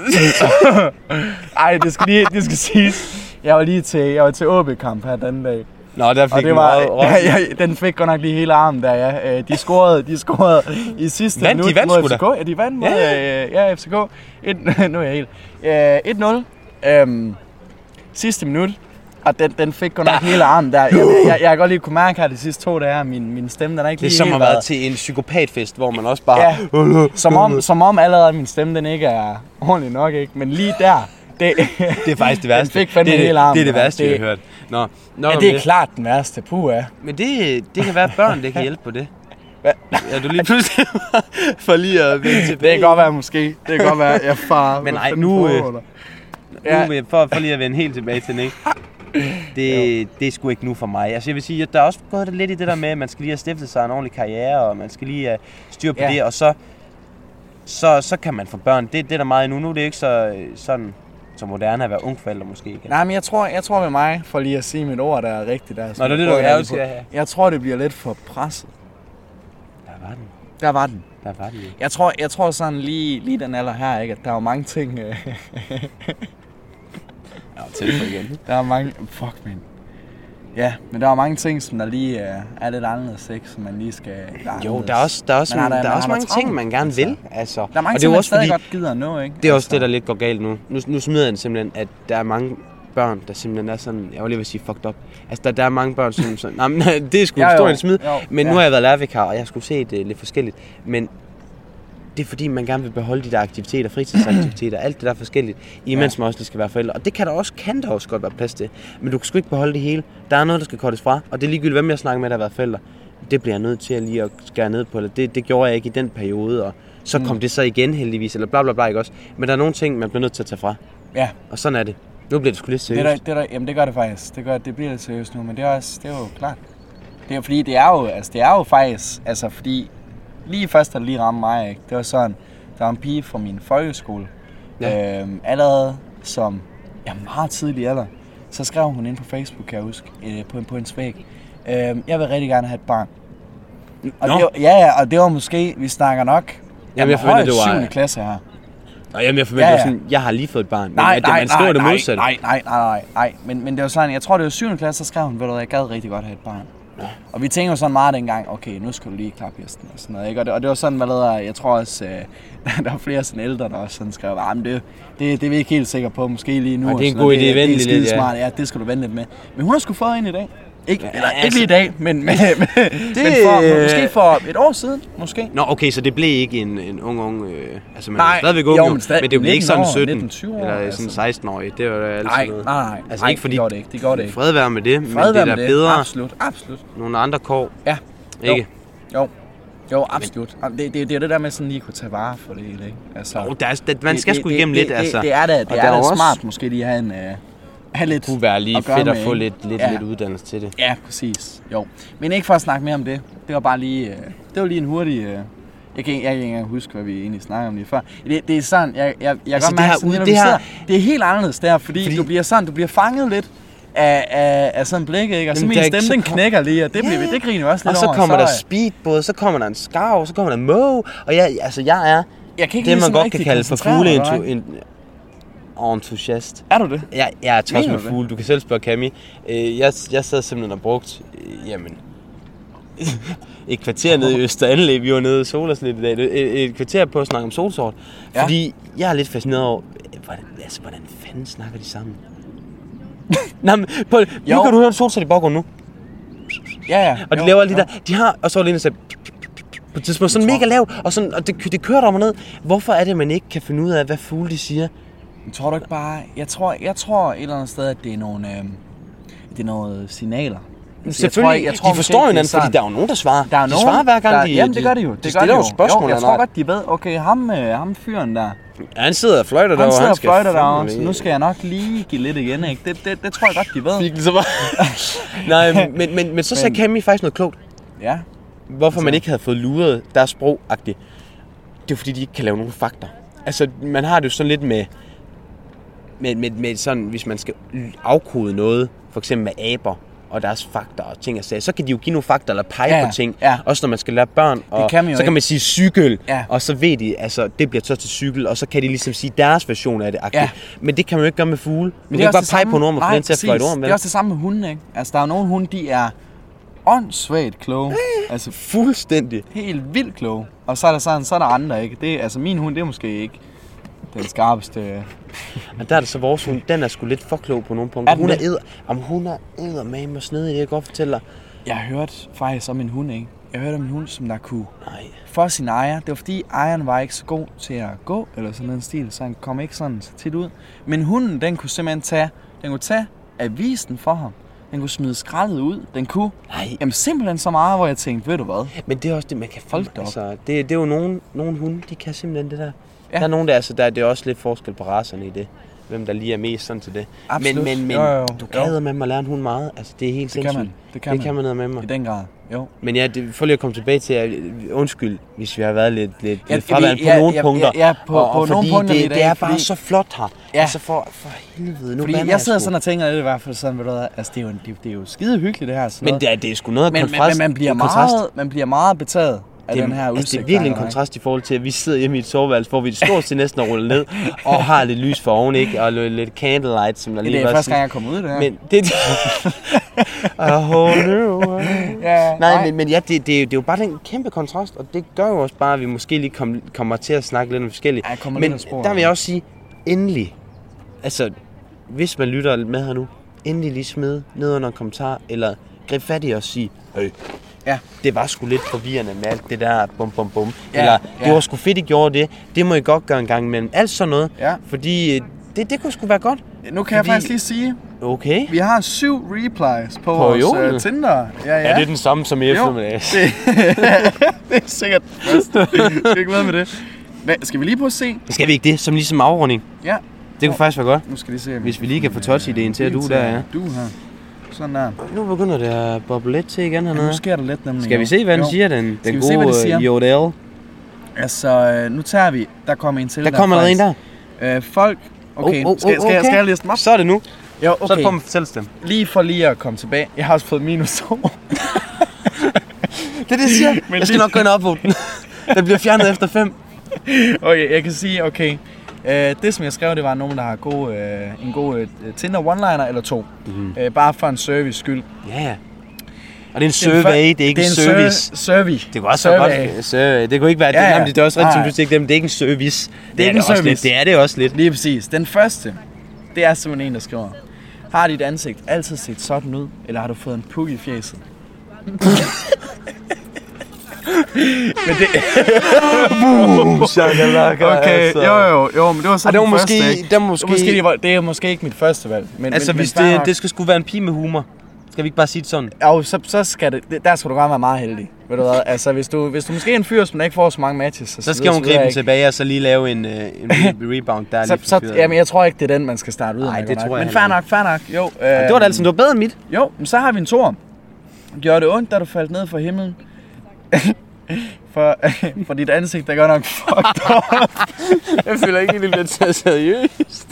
Speaker 2: Ej, det skal lige, det skal siges. Jeg var lige til, jeg var til OB-kamp her den anden dag.
Speaker 1: Nå, der fik
Speaker 2: Og
Speaker 1: den
Speaker 2: det var,
Speaker 1: meget røv.
Speaker 2: *laughs* ja, ja, den fik godt nok lige hele armen der, ja. Øh, De scorede, de scorede i sidste
Speaker 1: Vandt de
Speaker 2: minut
Speaker 1: vandt
Speaker 2: mod
Speaker 1: sgu da.
Speaker 2: FCK. Ja, de vandt mod
Speaker 1: Ja,
Speaker 2: ja, ja. FCK. Et, *laughs* nu er jeg helt. Øh, 1-0. Øhm, sidste minut. Og den, den fik godt nok hele armen der. Jeg, jeg, jeg, kan godt lige kunne mærke her de sidste to dage, at min, min stemme den er ikke
Speaker 1: Uh. Det er
Speaker 2: lige
Speaker 1: som
Speaker 2: helt
Speaker 1: at være til en psykopatfest, hvor man også bare... *laughs*
Speaker 2: Ja, som om, som om allerede min stemme den ikke er ordentlig nok, ikke? Men lige der, det,
Speaker 1: *laughs* Det er faktisk det
Speaker 2: Den
Speaker 1: værste.
Speaker 2: fik fandme
Speaker 1: det, er
Speaker 2: hele
Speaker 1: det,
Speaker 2: armen,
Speaker 1: det er det
Speaker 2: mand.
Speaker 1: værste, jeg
Speaker 2: Det-
Speaker 1: har hørt. Nå, nå
Speaker 2: ja, det er klart den værste. Puh, ja.
Speaker 1: Men det, det kan være, at børn det kan hjælpe på det.
Speaker 2: Hvad?
Speaker 1: Ja, du lige pludselig *laughs* for lige at vende
Speaker 2: Det
Speaker 1: tilbage.
Speaker 2: kan godt være måske. Det kan godt være, jeg
Speaker 1: *laughs*
Speaker 2: far.
Speaker 1: Men
Speaker 2: hvad
Speaker 1: ej,
Speaker 2: fanden
Speaker 1: nu, øh,
Speaker 2: foregår der?
Speaker 1: Nu, vil jeg- for, for lige at vende helt tilbage til den,
Speaker 2: *laughs*
Speaker 1: ikke? Det, det er sgu ikke nu for mig. Altså jeg vil sige, at der er også gået lidt i det der med, at man skal lige have stiftet sig en ordentlig karriere, og man skal lige have styr på ja.
Speaker 2: Ja.
Speaker 1: det, og så, så, så kan man få børn. Det, det er der meget endnu. Nu er det ikke så, øh, sådan, så moderne at være ung forælder måske igen.
Speaker 2: Nej, men jeg tror, jeg tror med mig, for lige at sige mit ord, der er rigtigt. Der er
Speaker 1: Nå, det er det, du
Speaker 2: jeg,
Speaker 1: ærgerligt
Speaker 2: på.
Speaker 1: skal have.
Speaker 2: jeg tror, det bliver lidt for presset.
Speaker 1: Der var den.
Speaker 2: Der var den.
Speaker 1: Der var den. jo.
Speaker 2: Jeg tror, jeg tror sådan lige, lige den alder her, ikke? at der er jo mange ting... Øh, *laughs*
Speaker 1: Ja, tæt på igen.
Speaker 2: der er mange... Fuck, man. Ja, men der er mange ting, som der lige øh, er lidt anderledes, ikke? Som man lige skal...
Speaker 1: Jo, der er også, der er også,
Speaker 2: Man har
Speaker 1: man der,
Speaker 2: da- man
Speaker 1: er også
Speaker 2: har da
Speaker 1: mange
Speaker 2: travlt,
Speaker 1: ting, man gerne
Speaker 2: altså.
Speaker 1: vil. Altså.
Speaker 2: Der er mange
Speaker 1: og det
Speaker 2: ting,
Speaker 1: er jo
Speaker 2: man
Speaker 1: også
Speaker 2: stadig
Speaker 1: fordi,
Speaker 2: godt gider at nå, ikke? Altså,
Speaker 1: det er også det, der lidt går galt nu. Nu, nu smider jeg den simpelthen, at der er mange børn, der simpelthen er sådan, jeg var lige ved at sige fucked up. Altså, der, der er mange børn, som *laughs* sådan, nej, men, det er sgu
Speaker 2: Ja,
Speaker 1: en
Speaker 2: jo.
Speaker 1: stor en smid.
Speaker 2: Jo,
Speaker 1: Men
Speaker 2: ja.
Speaker 1: ja. nu har jeg været lærervikar, og jeg skulle se det lidt forskelligt. Men det er fordi, man gerne vil beholde de der aktiviteter, fritidsaktiviteter, alt det der forskelligt, imens ja. man også lige skal være forældre. Og det kan der også, kan der også godt være plads til. Men du kan sgu ikke beholde det hele. Der er noget, der skal kortes fra, og det er ligegyldigt, hvem jeg snakker med, der har været forældre. Det bliver jeg nødt til at lige at skære ned på, eller det, det gjorde jeg ikke i den periode, og så
Speaker 2: Mm.
Speaker 1: kom det så igen heldigvis, eller bla bla bla, ikke også? Men der er nogle ting, man bliver nødt til at tage fra,
Speaker 2: Ja,
Speaker 1: og sådan er det. Nu bliver det sgu lidt
Speaker 2: det, er
Speaker 1: seriøst.
Speaker 2: der, det, er der, jamen det gør det faktisk. Det, gør, det bliver lidt seriøst nu, men det er, også, det er jo klart. Det er jo fordi, det er jo, altså, det er jo faktisk... Altså, fordi lige først, da det lige ramte mig, ikke? Det var sådan, der var en pige fra min folkeskole. Ja. Øhm, allerede som ja, meget tidlig alder, så skrev hun ind på Facebook, kan jeg huske, øh, på, en- på hendes væg. Øhm, jeg vil rigtig gerne have et barn. Og
Speaker 1: Nå.
Speaker 2: det, var- ja, ja, og det var måske, vi snakker nok,
Speaker 1: Jamen, jeg forventer,
Speaker 2: højst
Speaker 1: det var-
Speaker 2: 7. klasse her.
Speaker 1: Nå, jamen, jeg forventer
Speaker 2: Ja,
Speaker 1: ja,
Speaker 2: ja.
Speaker 1: ja. sådan, jeg har lige fået et barn. men at det- man skriver det modsatte.
Speaker 2: nej, nej, nej, nej, nej. Men, men det var sådan, jeg tror, det var 7. klasse, så skrev hun, ved du hvad, jeg gad rigtig godt have et barn. Og vi tænkte jo sådan meget dengang, okay, nu skal du lige klappe hesten og sådan noget, ikke? Og det, og det var sådan, hvad der, jeg tror også, øh, *laughs* der var flere sådan ældre, der også sådan skrev, ah, men det, det, det er vi ikke helt sikre på, måske lige nu.
Speaker 1: Ej, det er
Speaker 2: og
Speaker 1: en
Speaker 2: sådan
Speaker 1: god
Speaker 2: noget.
Speaker 1: idé, vent
Speaker 2: Det
Speaker 1: lige
Speaker 2: er
Speaker 1: lidt, ja.
Speaker 2: skidesmart, ja, det skal du vente lidt med. Men hun har sgu fået en i dag. Ikke, eller,
Speaker 1: altså.
Speaker 2: ikke lige i dag,
Speaker 1: *laughs*
Speaker 2: men, men, men, det... men for, måske for et år siden, måske.
Speaker 1: Nå, okay, så det blev ikke en, en ung, ung... Øh, altså, man
Speaker 2: Nej,
Speaker 1: er stadigvæk ung,
Speaker 2: jo,
Speaker 1: jo,
Speaker 2: men stadig
Speaker 1: men det blev ikke sådan
Speaker 2: 19 år,
Speaker 1: 17
Speaker 2: 19-20 år,
Speaker 1: eller sådan
Speaker 2: altså.
Speaker 1: 16-årig. Det var da altid
Speaker 2: Nej, nej,
Speaker 1: noget.
Speaker 2: nej.
Speaker 1: Altså
Speaker 2: nej,
Speaker 1: ikke fordi...
Speaker 2: det gjorde det ikke, det gjorde det ikke.
Speaker 1: Fred være med det, men
Speaker 2: Fred
Speaker 1: det
Speaker 2: være
Speaker 1: er da
Speaker 2: med det.
Speaker 1: bedre
Speaker 2: Absolut, absolut.
Speaker 1: nogle andre kår,
Speaker 2: Ja.
Speaker 1: ikke?
Speaker 2: Jo, jo absolut. Jamen, Det, det, det er det der med sådan lige at kunne tage vare for det hele, ikke? Altså,
Speaker 1: Jo, der er, der, man
Speaker 2: det-
Speaker 1: skal
Speaker 2: det-
Speaker 1: sgu
Speaker 2: det-
Speaker 1: igennem
Speaker 2: det,
Speaker 1: lidt,
Speaker 2: det,
Speaker 1: altså.
Speaker 2: Det, det er da, det
Speaker 1: Og der
Speaker 2: er da
Speaker 1: er jo også-
Speaker 2: smart måske lige at have en... Øh, have lidt
Speaker 1: kunne være lige
Speaker 2: at gøre
Speaker 1: fedt at
Speaker 2: med,
Speaker 1: få
Speaker 2: ikke?
Speaker 1: lidt, lidt,
Speaker 2: Ja.
Speaker 1: lidt uddannelse til det.
Speaker 2: Ja, præcis. Jo. Men ikke for at snakke mere om det. Det var bare lige... Øh, det var lige en hurtig... Øh, jeg kan, ikke- jeg kan ikke engang huske, hvad vi egentlig snakkede om lige før. Det, det er sådan, jeg, jeg, jeg altså,
Speaker 1: Altså, det
Speaker 2: kan godt mærke,
Speaker 1: her
Speaker 2: sådan,
Speaker 1: ude-
Speaker 2: når
Speaker 1: det
Speaker 2: vi
Speaker 1: her-
Speaker 2: sidder, det er helt anderledes der, fordi, fordi, du bliver sådan, du bliver fanget lidt af, af, af sådan blikket, ikke? Og så
Speaker 1: Jamen,
Speaker 2: min
Speaker 1: der er
Speaker 2: stemme,
Speaker 1: ikke- så
Speaker 2: den
Speaker 1: kom-
Speaker 2: knækker lige, og det, bliver, vi- det griner vi også
Speaker 1: Og
Speaker 2: lidt
Speaker 1: så
Speaker 2: over.
Speaker 1: kommer der
Speaker 2: øh,
Speaker 1: speedbåd, så kommer der en skarv, så kommer der en måge, og jeg, altså, jeg er
Speaker 2: Jeg kan ikke
Speaker 1: det,
Speaker 2: lige
Speaker 1: man
Speaker 2: sådan
Speaker 1: godt
Speaker 2: rigtig
Speaker 1: kan kalde for
Speaker 2: koncentrere mig, eller hvad?
Speaker 1: fugleentusiast.
Speaker 2: Er du det?
Speaker 1: Jeg, jeg er tosset
Speaker 2: Mener
Speaker 1: med
Speaker 2: du det?
Speaker 1: fugle. Du kan selv spørge Kami. Øh, jeg, jeg sad simpelthen og brugt, øh, jamen, *laughs* et kvarter nede i Øster Anlæg. Vi var nede i Solas lidt i dag. øh, Et, et kvarter på at snakke om solsort.
Speaker 2: Ja.
Speaker 1: Ja. Fordi jeg er lidt fascineret over, øh, hvordan, altså, hvordan fanden snakker de
Speaker 2: *laughs*
Speaker 1: sammen? Nej, men på,
Speaker 2: Jo.
Speaker 1: nu kan du høre en solsort i baggrunden nu.
Speaker 2: Ja, ja.
Speaker 1: Og de
Speaker 2: Jo,
Speaker 1: laver alle de
Speaker 2: jo.
Speaker 1: der, de har, og så var det en, der sagde, på et tidspunkt, sådan
Speaker 2: Jeg tror-
Speaker 1: mega lavt, og, sådan, og det, det kører der ned. Hvorfor er det, man ikke kan finde ud af, hvad fugle de siger?
Speaker 2: Men Tror du ikke bare... Jeg tror, jeg tror et eller andet sted, at det er nogle... Øh, det er noget signaler. Altså,
Speaker 1: Selvfølgelig, jeg tror, de
Speaker 2: måske
Speaker 1: forstår
Speaker 2: ikke,
Speaker 1: hinanden,
Speaker 2: det er
Speaker 1: fordi der er jo nogen, der svarer.
Speaker 2: Der er
Speaker 1: de
Speaker 2: nogen,
Speaker 1: svarer hver gang,
Speaker 2: der,
Speaker 1: de,
Speaker 2: Jamen, det gør de jo.
Speaker 1: De,
Speaker 2: Det gør
Speaker 1: stiller
Speaker 2: de
Speaker 1: jo spørgsmål.
Speaker 2: Jo, jeg tror godt, de ved, okay, ham, øh, ham fyren der,
Speaker 1: Ja, han sidder og fløjter
Speaker 2: han
Speaker 1: derovre.
Speaker 2: sidder og
Speaker 1: skal
Speaker 2: fløjter
Speaker 1: fandme
Speaker 2: derovre, så
Speaker 1: ikke-
Speaker 2: nu skal jeg nok lige give lidt igen, ikke? Det, det, det tror jeg godt, de ved.
Speaker 1: *laughs* Fik den så
Speaker 2: *laughs*
Speaker 1: bare. Nej, men, men, men, men så sagde
Speaker 2: Men-
Speaker 1: Cammy faktisk noget klogt.
Speaker 2: Ja,
Speaker 1: Hvorfor
Speaker 2: Altså-
Speaker 1: man ikke havde fået luret deres sprogagtigt. Det er jo fordi, de ikke kan lave nogen fakta. Altså, man har det jo sådan lidt med... Med, med, med sådan, hvis man skal afkode noget, for eksempel med aber og deres fakta og ting og sager, så kan de jo give nogle fakta eller pege
Speaker 2: Ja, ja,
Speaker 1: på ting.
Speaker 2: ja.
Speaker 1: Også når man skal lære børn. Og
Speaker 2: kan man jo
Speaker 1: så
Speaker 2: ikke.
Speaker 1: kan man sige cykel,
Speaker 2: Ja.
Speaker 1: og så ved de, altså det bliver så til cykel, og så kan de ligesom sige deres version af det.
Speaker 2: Ja.
Speaker 1: Ja. Men det kan man jo ikke gøre med fugle. Men
Speaker 2: det
Speaker 1: du
Speaker 2: er
Speaker 1: kan bare
Speaker 2: også det
Speaker 1: pege
Speaker 2: samme-
Speaker 1: på en orm og
Speaker 2: Nej,
Speaker 1: få den til at
Speaker 2: præcis.
Speaker 1: fløjte orm.
Speaker 2: Det
Speaker 1: vel?
Speaker 2: er også det samme med hunden, ikke? Altså, der er jo nogle hunde, de er åndssvagt kloge. Altså,
Speaker 1: Fuldstændig.
Speaker 2: helt vildt kloge. Og så er der sådan, så er der andre, ikke? Det, altså, min hund, det er måske ikke den skarpeste...
Speaker 1: Men der er det så vores hund, den er sgu lidt for klog på nogle punkter.
Speaker 2: Er den
Speaker 1: hun er
Speaker 2: det?
Speaker 1: edder, om hun er edder med mig snedig, det kan jeg godt fortælle dig.
Speaker 2: Jeg har hørt faktisk om en hund, ikke? Jeg hørte om en hund, som der kunne
Speaker 1: Nej.
Speaker 2: for sin ejer. Det var fordi ejeren var ikke så god til at gå, eller sådan en stil, så han kom ikke sådan så tit ud. Men hunden, den kunne simpelthen tage, den kunne tage avisen for ham. Den kunne smide skraldet ud. Den kunne
Speaker 1: Nej.
Speaker 2: jamen, simpelthen så meget, hvor jeg tænkte, ved du hvad?
Speaker 1: Men det er også det, man kan
Speaker 2: Hold
Speaker 1: folk
Speaker 2: da op.
Speaker 1: altså, det, det er jo nogen, nogen hunde, de kan simpelthen det der.
Speaker 2: Ja.
Speaker 1: Ja. Der er nogen, der, altså, der det er også lidt forskel på racerne i det. Hvem der lige er mest sådan til det.
Speaker 2: Absolut.
Speaker 1: Men, men, men
Speaker 2: Jo, jo, jo.
Speaker 1: du
Speaker 2: Jo.
Speaker 1: kan med at lære en hund meget. Altså, det er helt
Speaker 2: Det kan man. Det kan
Speaker 1: det kan man med
Speaker 2: I
Speaker 1: mig.
Speaker 2: den grad, jo.
Speaker 1: Men ja, det, for lige at komme tilbage til, at, undskyld, hvis vi har været lidt, lidt,
Speaker 2: Ja,
Speaker 1: lidt fraværende på
Speaker 2: vi- ja,
Speaker 1: nogle
Speaker 2: ja,
Speaker 1: punkter.
Speaker 2: ja, ja, på- på nogle
Speaker 1: fordi
Speaker 2: punkter i
Speaker 1: det,
Speaker 2: dag,
Speaker 1: det er
Speaker 2: fordi-
Speaker 1: bare så flot her.
Speaker 2: Ja.
Speaker 1: Altså for, for helvede, nu
Speaker 2: Fordi
Speaker 1: bander
Speaker 2: jeg sidder
Speaker 1: sgu.
Speaker 2: sådan og tænker lidt i hvert fald sådan, ved du hvad, altså det er jo, en- det, det er jo skide hyggeligt det her. Sådan
Speaker 1: Men
Speaker 2: noget.
Speaker 1: det er, det er sgu noget af
Speaker 2: men, men,
Speaker 1: kontrast.
Speaker 2: men man, bliver
Speaker 1: kontrast.
Speaker 2: meget, man bliver meget betaget af den her udsigt.
Speaker 1: altså, det er
Speaker 2: der
Speaker 1: virkelig en
Speaker 2: der, ikke?
Speaker 1: kontrast i forhold til, at vi sidder hjemme i et soveværelse, hvor vi er stort set næsten er rullet
Speaker 2: *laughs*
Speaker 1: ned, og har lidt lys for oven, ikke? Og lidt lidt candlelight, som der lige
Speaker 2: Det er
Speaker 1: var
Speaker 2: første
Speaker 1: sidst.
Speaker 2: gang, jeg kom ud af det her.
Speaker 1: Men det...
Speaker 2: *laughs*
Speaker 1: A whole new world.
Speaker 2: ja,
Speaker 1: Nej, men, men ja, det, det, er jo- det er jo bare den kæmpe kontrast, og det gør jo også bare, at vi måske lige kom, kommer til at snakke lidt om forskellige.
Speaker 2: Ja, jeg kommer lidt
Speaker 1: men
Speaker 2: af sporet.
Speaker 1: der vil jeg også sige, endelig, altså hvis man lytter med her nu, endelig lige smid ned under en kommentar, eller grib fat i os og sige, øh,
Speaker 2: Ja.
Speaker 1: det var sgu lidt forvirrende med alt det der bum bum bum.
Speaker 2: Ja,
Speaker 1: Ja, eller,
Speaker 2: ja.
Speaker 1: det var sgu fedt, I gjorde det. Det må I godt gøre en gang imellem. Alt sådan noget.
Speaker 2: Ja.
Speaker 1: Fordi øh, det, det kunne sgu være godt.
Speaker 2: Nu kan jeg
Speaker 1: Fordi-
Speaker 2: faktisk lige sige,
Speaker 1: Okay.
Speaker 2: vi har syv replies på, vores
Speaker 1: Joel?
Speaker 2: uh, Tinder. Ja, ja.
Speaker 1: Er det den samme som i
Speaker 2: jo,
Speaker 1: eftermiddag?
Speaker 2: *laughs* det, *laughs* det er sikkert. Skal ikke med med det. Hvad, skal vi lige prøve at se?
Speaker 1: Skal vi ikke det, som ligesom afrunding?
Speaker 2: Ja,
Speaker 1: Det kunne faktisk være godt.
Speaker 2: nu skal vi se. om øh,
Speaker 1: Hvis vi lige kan få touch-ideen til at
Speaker 2: lige
Speaker 1: du der, ja.
Speaker 2: Du her. Sådan der.
Speaker 1: Nu begynder det at boble lidt til igen
Speaker 2: Ja, nu
Speaker 1: hernede.
Speaker 2: sker der lidt nemlig.
Speaker 1: Skal vi
Speaker 2: jo.
Speaker 1: se, hvad den
Speaker 2: Jo.
Speaker 1: siger, den,
Speaker 2: Skal
Speaker 1: den
Speaker 2: vi se, hvad det
Speaker 1: gode
Speaker 2: siger?
Speaker 1: øh, Jodel?
Speaker 2: Altså, øh, nu tager vi. Der kommer en til.
Speaker 1: Der kommer allerede en der.
Speaker 2: der. faktisk. Øh, folk. Okay,
Speaker 1: Oh, oh, oh,
Speaker 2: skal, skal, jeg- skal
Speaker 1: okay.
Speaker 2: jeg læse dem op?
Speaker 1: Så er det nu.
Speaker 2: Jo,
Speaker 1: Så er det på, man fortæller dem.
Speaker 2: Lige for lige at komme tilbage. Jeg har også fået minus *laughs* 2.
Speaker 1: Det er det, jeg siger.
Speaker 2: *laughs* Men
Speaker 1: Jeg skal
Speaker 2: lige-
Speaker 1: nok gå ind og upvote
Speaker 2: *laughs*
Speaker 1: den. Den bliver fjernet efter fem.
Speaker 2: Okay, jeg kan sige, okay. Øh, det, som jeg skrev, det var nogen, der har god, øh, en god øh, Tinder one-liner eller to.
Speaker 1: Mhm.
Speaker 2: Mm. Øh, bare for en service skyld.
Speaker 1: Ja, ja. Og det er en survey, det er ikke en service.
Speaker 2: Ser- service.
Speaker 1: Det kunne også så godt survey. Det kunne ikke være det.
Speaker 2: Ja, ja.
Speaker 1: Jamen, det er også rigtigt, som
Speaker 2: Nej.
Speaker 1: du siger, dem. det er ikke en service. Det
Speaker 2: ikke en
Speaker 1: det også
Speaker 2: service.
Speaker 1: lidt. Det er det også lidt.
Speaker 2: Lige præcis. Den første, det er simpelthen en, der skriver. Har dit ansigt altid set sådan ud, eller har du fået en puk i fjeset? Uh.
Speaker 1: Uh.
Speaker 2: Okay, jo jo jo, men det var så
Speaker 1: Og altså- det
Speaker 2: den
Speaker 1: var måske,
Speaker 2: første, ikke?
Speaker 1: det var
Speaker 2: Det
Speaker 1: måske,
Speaker 2: er måske, det, var, det er måske ikke mit første valg. Men,
Speaker 1: altså
Speaker 2: men,
Speaker 1: hvis
Speaker 2: men, fair
Speaker 1: det,
Speaker 2: nok.
Speaker 1: det skulle, skulle være en pige med humor, skal vi ikke bare sige det sådan?
Speaker 2: Og så, så skal det, det- der skal du godt være meget heldig. Ved du hvad? Altså, hvis du, hvis du måske er en fyr, som ikke får så mange matches, så,
Speaker 1: Så skal hun gribe den tilbage og så lige lave en, øh, en
Speaker 2: *laughs*
Speaker 1: re- rebound, der er
Speaker 2: Så,
Speaker 1: lidt
Speaker 2: så,
Speaker 1: forfyret.
Speaker 2: jamen, jeg tror ikke, det er den, man skal starte ud
Speaker 1: Ej, det
Speaker 2: med. godt
Speaker 1: tror
Speaker 2: nok.
Speaker 1: jeg
Speaker 2: Men fair
Speaker 1: heller
Speaker 2: nok, fair nok. Jo, øh,
Speaker 1: Jamen, det var da altså noget bedre end mit.
Speaker 2: Jo, men så har vi en tor. Gjorde det ondt, da du faldt ned fra himlen? *laughs* for, *laughs* for dit ansigt er godt nok *laughs* fucked up.
Speaker 1: Jeg føler ikke, at det bliver taget *laughs* seriøst.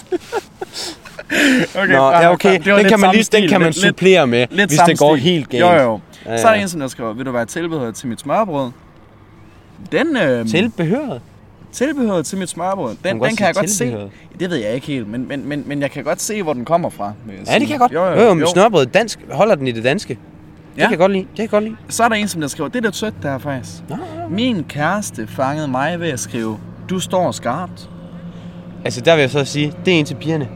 Speaker 2: Okay,
Speaker 1: Nå,
Speaker 2: fair
Speaker 1: ja,
Speaker 2: nok,
Speaker 1: okay.
Speaker 2: fair. Det var
Speaker 1: Den
Speaker 2: lidt
Speaker 1: kan man,
Speaker 2: samme
Speaker 1: lige, den
Speaker 2: stil,
Speaker 1: kan man
Speaker 2: lidt- lidt-
Speaker 1: supplere med,
Speaker 2: Lidt
Speaker 1: hvis
Speaker 2: samme
Speaker 1: det går
Speaker 2: stil.
Speaker 1: helt galt.
Speaker 2: Jo, jo.
Speaker 1: Ja,
Speaker 2: Så er der
Speaker 1: ja.
Speaker 2: en, som der skriver, vil du være tilbehøret til mit smørbrød? Den, øh,
Speaker 1: Tilbehøret.
Speaker 2: tilbehøret til mit smørbrød, den,
Speaker 1: kan
Speaker 2: den
Speaker 1: godt
Speaker 2: kan jeg
Speaker 1: sige
Speaker 2: godt se.
Speaker 1: tilbehøret.
Speaker 2: Det ved jeg ikke helt, men, men, men, men jeg kan godt se, hvor den kommer fra. vil jeg
Speaker 1: Ja, det
Speaker 2: sige.
Speaker 1: kan jeg godt. Jo, jo, jo. men Snørbrød dansk, holder den i det danske. Det
Speaker 2: Ja.
Speaker 1: kan jeg godt lide. Det kan jeg godt lide.
Speaker 2: Så er der en, som der skriver, det er da sødt, der faktisk.
Speaker 1: Nå, ja.
Speaker 2: Min kæreste fangede mig ved at skrive, du står skarpt.
Speaker 1: Altså, der vil jeg så sige, det er en til pigerne.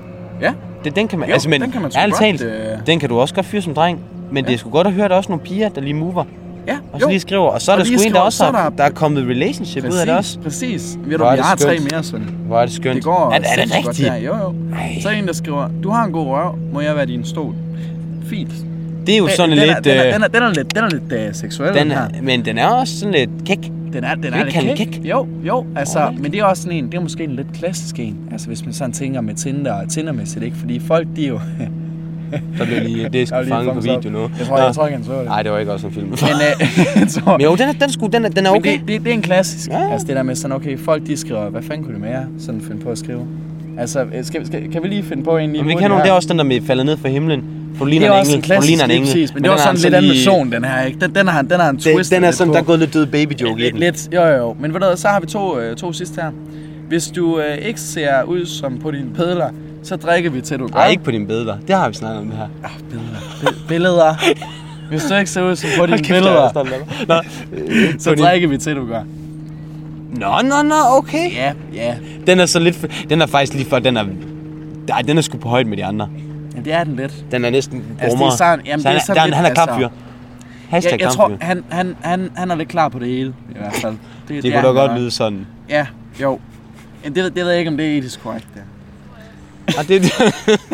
Speaker 2: Ja,
Speaker 1: Det, den kan man,
Speaker 2: Jo,
Speaker 1: altså, men
Speaker 2: den kan man sgu
Speaker 1: ærligt
Speaker 2: godt,
Speaker 1: talt,
Speaker 2: øh.
Speaker 1: den kan du også godt fyre som dreng. Men det er sgu godt at høre, at der er også nogle piger, der lige mover.
Speaker 2: ja,
Speaker 1: Og så lige skriver, og så er
Speaker 2: Og
Speaker 1: der
Speaker 2: lige
Speaker 1: sgu en, der
Speaker 2: skriver,
Speaker 1: også
Speaker 2: så er
Speaker 1: har,
Speaker 2: der-
Speaker 1: der er kommet relationship ud af det også.
Speaker 2: Præcis. Ved du,
Speaker 1: Hvor er
Speaker 2: jeg
Speaker 1: det
Speaker 2: har tre
Speaker 1: skønt.
Speaker 2: mere, Svend.
Speaker 1: Hvor er det skønt.
Speaker 2: Det går
Speaker 1: er, er det
Speaker 2: sindssygt
Speaker 1: rigtigt?
Speaker 2: Godt, der. jo, jo.
Speaker 1: Ej.
Speaker 2: Så er der en, der skriver, du har en god røv, må jeg være din stol? Fint.
Speaker 1: Det er jo sådan
Speaker 2: den,
Speaker 1: lidt...
Speaker 2: Er, den, er,
Speaker 1: øh,
Speaker 2: den, er, den er lidt, den er lidt øh, seksuel, den,
Speaker 1: den
Speaker 2: her.
Speaker 1: er, men den er også sådan lidt kæk.
Speaker 2: Den er, den
Speaker 1: vi
Speaker 2: er
Speaker 1: ikke kalde den kæk?
Speaker 2: Jo, jo, altså, men det er også sådan en, det er måske en lidt klassisk en. Altså, hvis man sådan tænker med Tinder og Tindermæssigt, ikke? Fordi folk, de er jo...
Speaker 1: Så bliver lige, det er
Speaker 2: Der
Speaker 1: sgu
Speaker 2: er lige en
Speaker 1: fanget på
Speaker 2: thumbs up.
Speaker 1: video nu.
Speaker 2: Jeg tror,
Speaker 1: Nå.
Speaker 2: jeg tror ikke, han så det.
Speaker 1: Nej, det var ikke også en film. Men
Speaker 2: Men, øh, *laughs* jeg tror,
Speaker 1: jo, den er, den, sgu, den, er, den er
Speaker 2: men
Speaker 1: okay.
Speaker 2: det, det, det, er en klassisk.
Speaker 1: Ja, ja.
Speaker 2: Altså, det der med sådan, okay, folk de skriver, hvad fanden kunne det være? Sådan finde på at skrive. Altså, øh, skal, skal, kan vi lige finde på en lige
Speaker 1: Men vi
Speaker 2: hurtigt
Speaker 1: kan nogle,
Speaker 2: her?
Speaker 1: det er også den der med faldet ned fra himlen. For du
Speaker 2: det er
Speaker 1: ligner en
Speaker 2: også en
Speaker 1: engel. For du
Speaker 2: klassisk,
Speaker 1: ligner en
Speaker 2: lige
Speaker 1: engel.
Speaker 2: præcis, men, det
Speaker 1: den
Speaker 2: var sådan
Speaker 1: altså
Speaker 2: lidt anden
Speaker 1: lige-
Speaker 2: version, den her, ikke? Den, den, har, den har en twist
Speaker 1: Den, den er
Speaker 2: lidt
Speaker 1: sådan,
Speaker 2: på.
Speaker 1: der er gået lidt død baby joke i
Speaker 2: Lidt,
Speaker 1: den.
Speaker 2: lidt, jo jo, men ved du, hvad, så har vi to, øh, to sidste her. Hvis du øh, ikke ser ud som på dine pedler, så drikker vi til du gør.
Speaker 1: Nej, ikke på dine bedler. Det har vi snakket om det her.
Speaker 2: Ah, billeder. Bi- billeder. Hvis du ikke ser ud som på dine
Speaker 1: Kæft, der er
Speaker 2: billeder,
Speaker 1: sådan der. Nå, øh,
Speaker 2: så
Speaker 1: på din-
Speaker 2: drikker vi til du gør.
Speaker 1: Nå, nå, nå, okay.
Speaker 2: Ja, ja.
Speaker 1: Den er så lidt... for- Den er faktisk lige for... Den er... Nej, den er sgu på højde med de andre.
Speaker 2: Men det er den lidt.
Speaker 1: Den er næsten
Speaker 2: Altså, det er
Speaker 1: brummere.
Speaker 2: sådan- jamen,
Speaker 1: så han,
Speaker 2: det er sådan
Speaker 1: der, han er
Speaker 2: lidt, altså-
Speaker 1: klapfyr. Hashtag
Speaker 2: Jeg, jeg
Speaker 1: klapfyr.
Speaker 2: tror, han, han, han, han er lidt klar på det hele, i hvert fald. Det,
Speaker 1: Det
Speaker 2: er
Speaker 1: kunne da
Speaker 2: han
Speaker 1: godt
Speaker 2: nok.
Speaker 1: lyde sådan.
Speaker 2: Ja, jo. Men det, ved- det ved jeg ikke, om det er etisk korrekt, det.
Speaker 1: Og det,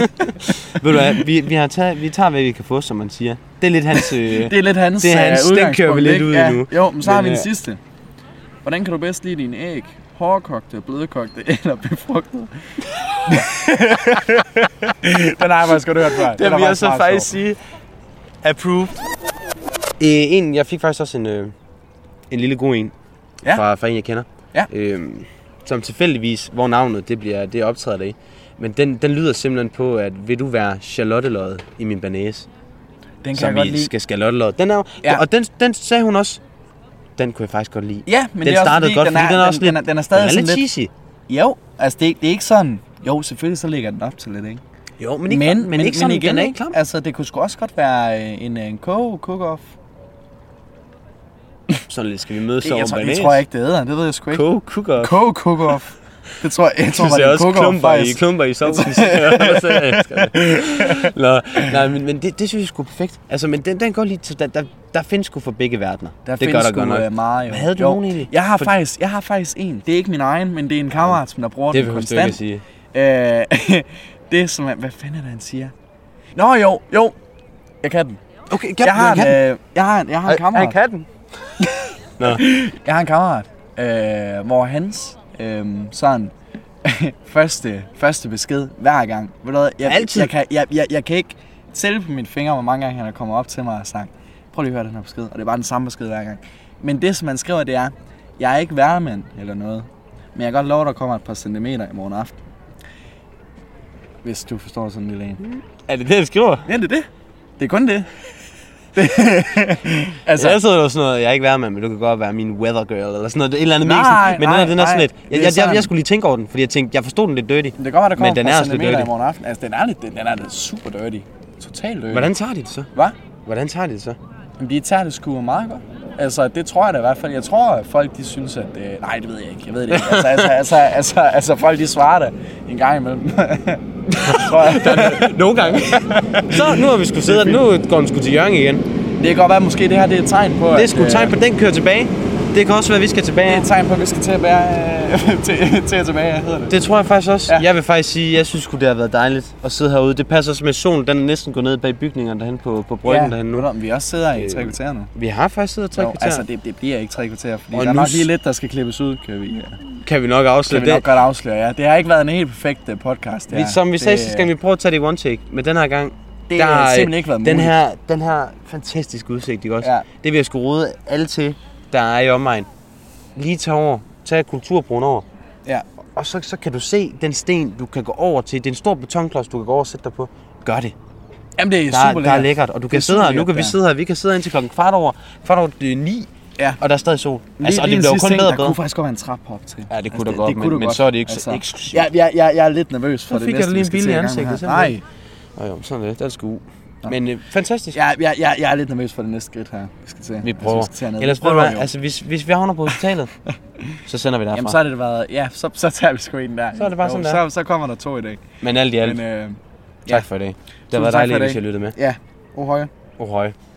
Speaker 1: *laughs* ved du hvad, vi, vi, har taget, vi tager, hvad vi kan få, som man siger. Det er lidt hans... Øh,
Speaker 2: *laughs* Det er lidt hans,
Speaker 1: Det er hans,
Speaker 2: øh,
Speaker 1: den
Speaker 2: udgangspunkt,
Speaker 1: kører vi lidt
Speaker 2: ikke?
Speaker 1: ud i nu.
Speaker 2: Jo, men så
Speaker 1: Men,
Speaker 2: har vi den
Speaker 1: øh,
Speaker 2: sidste. Hvordan kan du bedst lide dine æg? Hårdkogte, blødkogte *laughs* eller
Speaker 1: *laughs*
Speaker 2: befrugtede? den har jeg faktisk godt hørt før. Den
Speaker 1: det
Speaker 2: er
Speaker 1: vil jeg så
Speaker 2: meget
Speaker 1: faktisk
Speaker 2: sjov.
Speaker 1: sige. Approved. Øh, en, jeg fik faktisk også en, øh, en lille god en.
Speaker 2: Ja.
Speaker 1: Fra, fra en, jeg kender.
Speaker 2: Ja.
Speaker 1: Øh, som tilfældigvis, hvor navnet det bliver, det optræder det i. Men den, den lyder simpelthen på, at vil du være charlotteløjet i min banæs?
Speaker 2: Den kan jeg
Speaker 1: Som
Speaker 2: godt
Speaker 1: vi
Speaker 2: lide.
Speaker 1: skal charlotteløjet. Den er jo,
Speaker 2: Ja.
Speaker 1: ja. Og den, den sagde hun også. den kunne jeg faktisk godt lide.
Speaker 2: Ja, men
Speaker 1: den
Speaker 2: det er også
Speaker 1: startede
Speaker 2: fordi,
Speaker 1: godt,
Speaker 2: den
Speaker 1: fordi
Speaker 2: er-
Speaker 1: den er
Speaker 2: den-
Speaker 1: også lidt...
Speaker 2: den er- den er stadig
Speaker 1: den er lidt
Speaker 2: sådan lidt-
Speaker 1: cheesy.
Speaker 2: Jo, altså det, det er ikke sådan... Jo, selvfølgelig så ligger den op til lidt, ikke?
Speaker 1: Jo, men ikke, men, men, ikke sådan, den er ikke klam.
Speaker 2: Altså, det kunne sgu også godt være øh, en, øh, en koge, cook-off.
Speaker 1: Sådan lidt skal vi mødes
Speaker 2: Det,
Speaker 1: over
Speaker 2: jeg, tror, det tror jeg ikke, det hedder. Det ved jeg sgu ikke.
Speaker 1: Coke, cooker.
Speaker 2: Koge, cook-off. Det tror jeg, jeg tror,
Speaker 1: Du ser
Speaker 2: var
Speaker 1: også
Speaker 2: det cook-off,
Speaker 1: klumper i,
Speaker 2: faktisk.
Speaker 1: klumper i sovsen.
Speaker 2: *laughs*
Speaker 1: Så jeg elsker det. Nå, nej, men, men det, det synes jeg sgu er perfekt. Altså, men den, den går lige til, der, der, der findes sgu for begge verdener.
Speaker 2: Der
Speaker 1: det
Speaker 2: findes
Speaker 1: der godt
Speaker 2: sgu,
Speaker 1: nok.
Speaker 2: øh, meget, jo.
Speaker 1: Hvad havde du
Speaker 2: Jo,
Speaker 1: nogen egentlig?
Speaker 2: Jeg har,
Speaker 1: For-
Speaker 2: faktisk, jeg har faktisk en. Det er ikke min egen, men det er en kammerat, som der bruger
Speaker 1: Det
Speaker 2: den
Speaker 1: vil du ikke at
Speaker 2: konstant.
Speaker 1: sige.
Speaker 2: Øh, *laughs* det er som, er- hvad fanden er det, han siger? Nå jo, jo. Jeg kan den.
Speaker 1: Okay, kan
Speaker 2: Jeg har en, øh, jeg har en, jeg har en kammerat.
Speaker 1: katten.
Speaker 2: Jeg har en kammerat, øh, hvor hans øh, sådan *laughs* første, første besked hver gang. Ved du hvad, jeg,
Speaker 1: Altid?
Speaker 2: Jeg kan, jeg, jeg, jeg kan ikke tælle på mine fingre, hvor mange gange han er kommet op til mig og sagt, prøv lige at høre den her besked, og det er bare den samme besked hver gang. Men det, som han skriver, det er, jeg er ikke værmand eller noget, men jeg kan godt love, der kommer et par centimeter i morgen aften. Hvis du forstår sådan en lille en.
Speaker 1: Er det det, jeg skriver?
Speaker 2: Ja, det er det. Det er kun det. *laughs* det altså,
Speaker 1: Altså, jeg sidder jo sådan noget, jeg er ikke værmand, men du kan godt være min weather girl, eller sådan noget, et eller andet
Speaker 2: Nej,
Speaker 1: mæsen. Men den
Speaker 2: nej,
Speaker 1: her, den er sådan
Speaker 2: nej.
Speaker 1: lidt,
Speaker 2: Det er
Speaker 1: jeg, jeg, jeg,
Speaker 2: sådan. Mm.
Speaker 1: jeg, skulle lige tænke over den, fordi jeg tænkte, jeg forstod den lidt dirty.
Speaker 2: det kan godt være, der kommer
Speaker 1: Men den
Speaker 2: et
Speaker 1: er
Speaker 2: par
Speaker 1: også lidt
Speaker 2: centimeter i
Speaker 1: dirty.
Speaker 2: morgen aften. Altså, den er lidt, den, den er lidt super dirty. Total dirty.
Speaker 1: Hvordan tager de det så?
Speaker 2: Hvad?
Speaker 1: Hvordan tager de det så?
Speaker 2: Jamen, de tager det sgu meget godt. Altså, det tror jeg da i hvert fald. Jeg tror, at folk de synes, at... Øh, nej, det ved jeg ikke. Jeg ved det ikke. Altså, altså, altså, altså, altså folk de svarer da en gang imellem. *laughs* tror jeg.
Speaker 1: Nogle gange. *laughs* så nu har vi sgu siddet, og nu går den sgu til Jørgen igen.
Speaker 2: Det kan godt være, at måske det her det er et tegn på,
Speaker 1: Det er sgu
Speaker 2: at, øh,
Speaker 1: et tegn på, at den kører tilbage. Det kan også være, at vi skal
Speaker 2: det
Speaker 1: tilbage.
Speaker 2: er et tegn på, at vi skal til at være... Øh, *laughs* til, til at tilbage, hedder det.
Speaker 1: Det tror jeg faktisk også.
Speaker 2: Ja.
Speaker 1: Ja. Jeg vil faktisk sige, jeg synes sgu, det har været dejligt at sidde herude. Det passer også med at solen, den er næsten gået ned bag bygningerne derhen på, på bryggen ja. derhen nu.
Speaker 2: nu. Vi også sidder i
Speaker 1: Øh,
Speaker 2: tre kvarter nu.
Speaker 1: Vi har faktisk siddet og
Speaker 2: Jo,
Speaker 1: tre kvarter.
Speaker 2: altså det, det bliver ikke tre kvarter, fordi og
Speaker 1: Og
Speaker 2: der er
Speaker 1: nu
Speaker 2: nok
Speaker 1: s-
Speaker 2: lige lidt, der skal klippes ud, kan vi, øh. ja.
Speaker 1: kan vi nok
Speaker 2: kan
Speaker 1: afsløre
Speaker 2: vi
Speaker 1: det.
Speaker 2: nok godt afsløre. Ja. Det har ikke været en helt perfekt øh, podcast. Det
Speaker 1: Vi,
Speaker 2: her.
Speaker 1: som vi sagde
Speaker 2: det,
Speaker 1: sidste gang, vi prøver at tage det i one take. Men den her gang,
Speaker 2: det
Speaker 1: der
Speaker 2: har
Speaker 1: øh,
Speaker 2: simpelthen ikke været muligt.
Speaker 1: den her, den her fantastiske udsigt, ikke også?
Speaker 2: Ja.
Speaker 1: Ja. Det vil jeg sgu råde alle til, der er i omegn. Lige tage over. Tag kulturbrunnen over.
Speaker 2: Ja.
Speaker 1: Og så, så kan du se den sten, du kan gå over til. Det er en stor betonklods, du kan gå over og sætte dig på. Gør det.
Speaker 2: Jamen, det er
Speaker 1: der,
Speaker 2: super
Speaker 1: er, der er lækkert, og du
Speaker 2: Det er
Speaker 1: kan sidde her, nu
Speaker 2: superlækkert,
Speaker 1: kan vi
Speaker 2: ja.
Speaker 1: sidde her, vi kan sidde indtil klokken kvart over, kvart over det er ni,
Speaker 2: Ja.
Speaker 1: og der er stadig sol.
Speaker 2: Lige,
Speaker 1: altså, og det
Speaker 2: lige en
Speaker 1: bliver jo
Speaker 2: sidste
Speaker 1: kun
Speaker 2: ting,
Speaker 1: bedre og
Speaker 2: Der kunne
Speaker 1: bedre.
Speaker 2: faktisk godt være en trappe op til.
Speaker 1: Ja, det kunne
Speaker 2: altså,
Speaker 1: der godt, men-
Speaker 2: kunne Altså.
Speaker 1: men så er det ikke så eksklusivt.
Speaker 2: Jeg, jeg, jeg, jeg er lidt nervøs for
Speaker 1: Så
Speaker 2: det
Speaker 1: fik jeg
Speaker 2: næste,
Speaker 1: da lige
Speaker 2: vi
Speaker 1: en
Speaker 2: skal
Speaker 1: bil i
Speaker 2: til gang med
Speaker 1: ansigtet,
Speaker 2: her.
Speaker 1: simpelthen.
Speaker 2: Nej,
Speaker 1: Åh jo, sådan er det, den skulle ud. Men øh, fantastisk.
Speaker 2: jeg, jeg, jeg, jeg er lidt nervøs for det næste skridt her. Vi skal til.
Speaker 1: Vi prøver.
Speaker 2: Altså, vi skal til
Speaker 1: Ellers prøver vi, altså hvis, hvis vi havner på
Speaker 2: *laughs*
Speaker 1: hospitalet, så sender vi derfra.
Speaker 2: Jamen, så har det været... Ja, så, så tager vi sgu en der.
Speaker 1: Så er det bare
Speaker 2: Jo,
Speaker 1: sådan der.
Speaker 2: Så, så kommer der to i dag.
Speaker 1: Men alt i alt,
Speaker 2: Men, øh,
Speaker 1: tak for i dag. Det har været
Speaker 2: tak for i
Speaker 1: dejligt,
Speaker 2: dag.
Speaker 1: hvis jeg lyttede med.
Speaker 2: ja. Oh, høje.
Speaker 1: Oh, høj.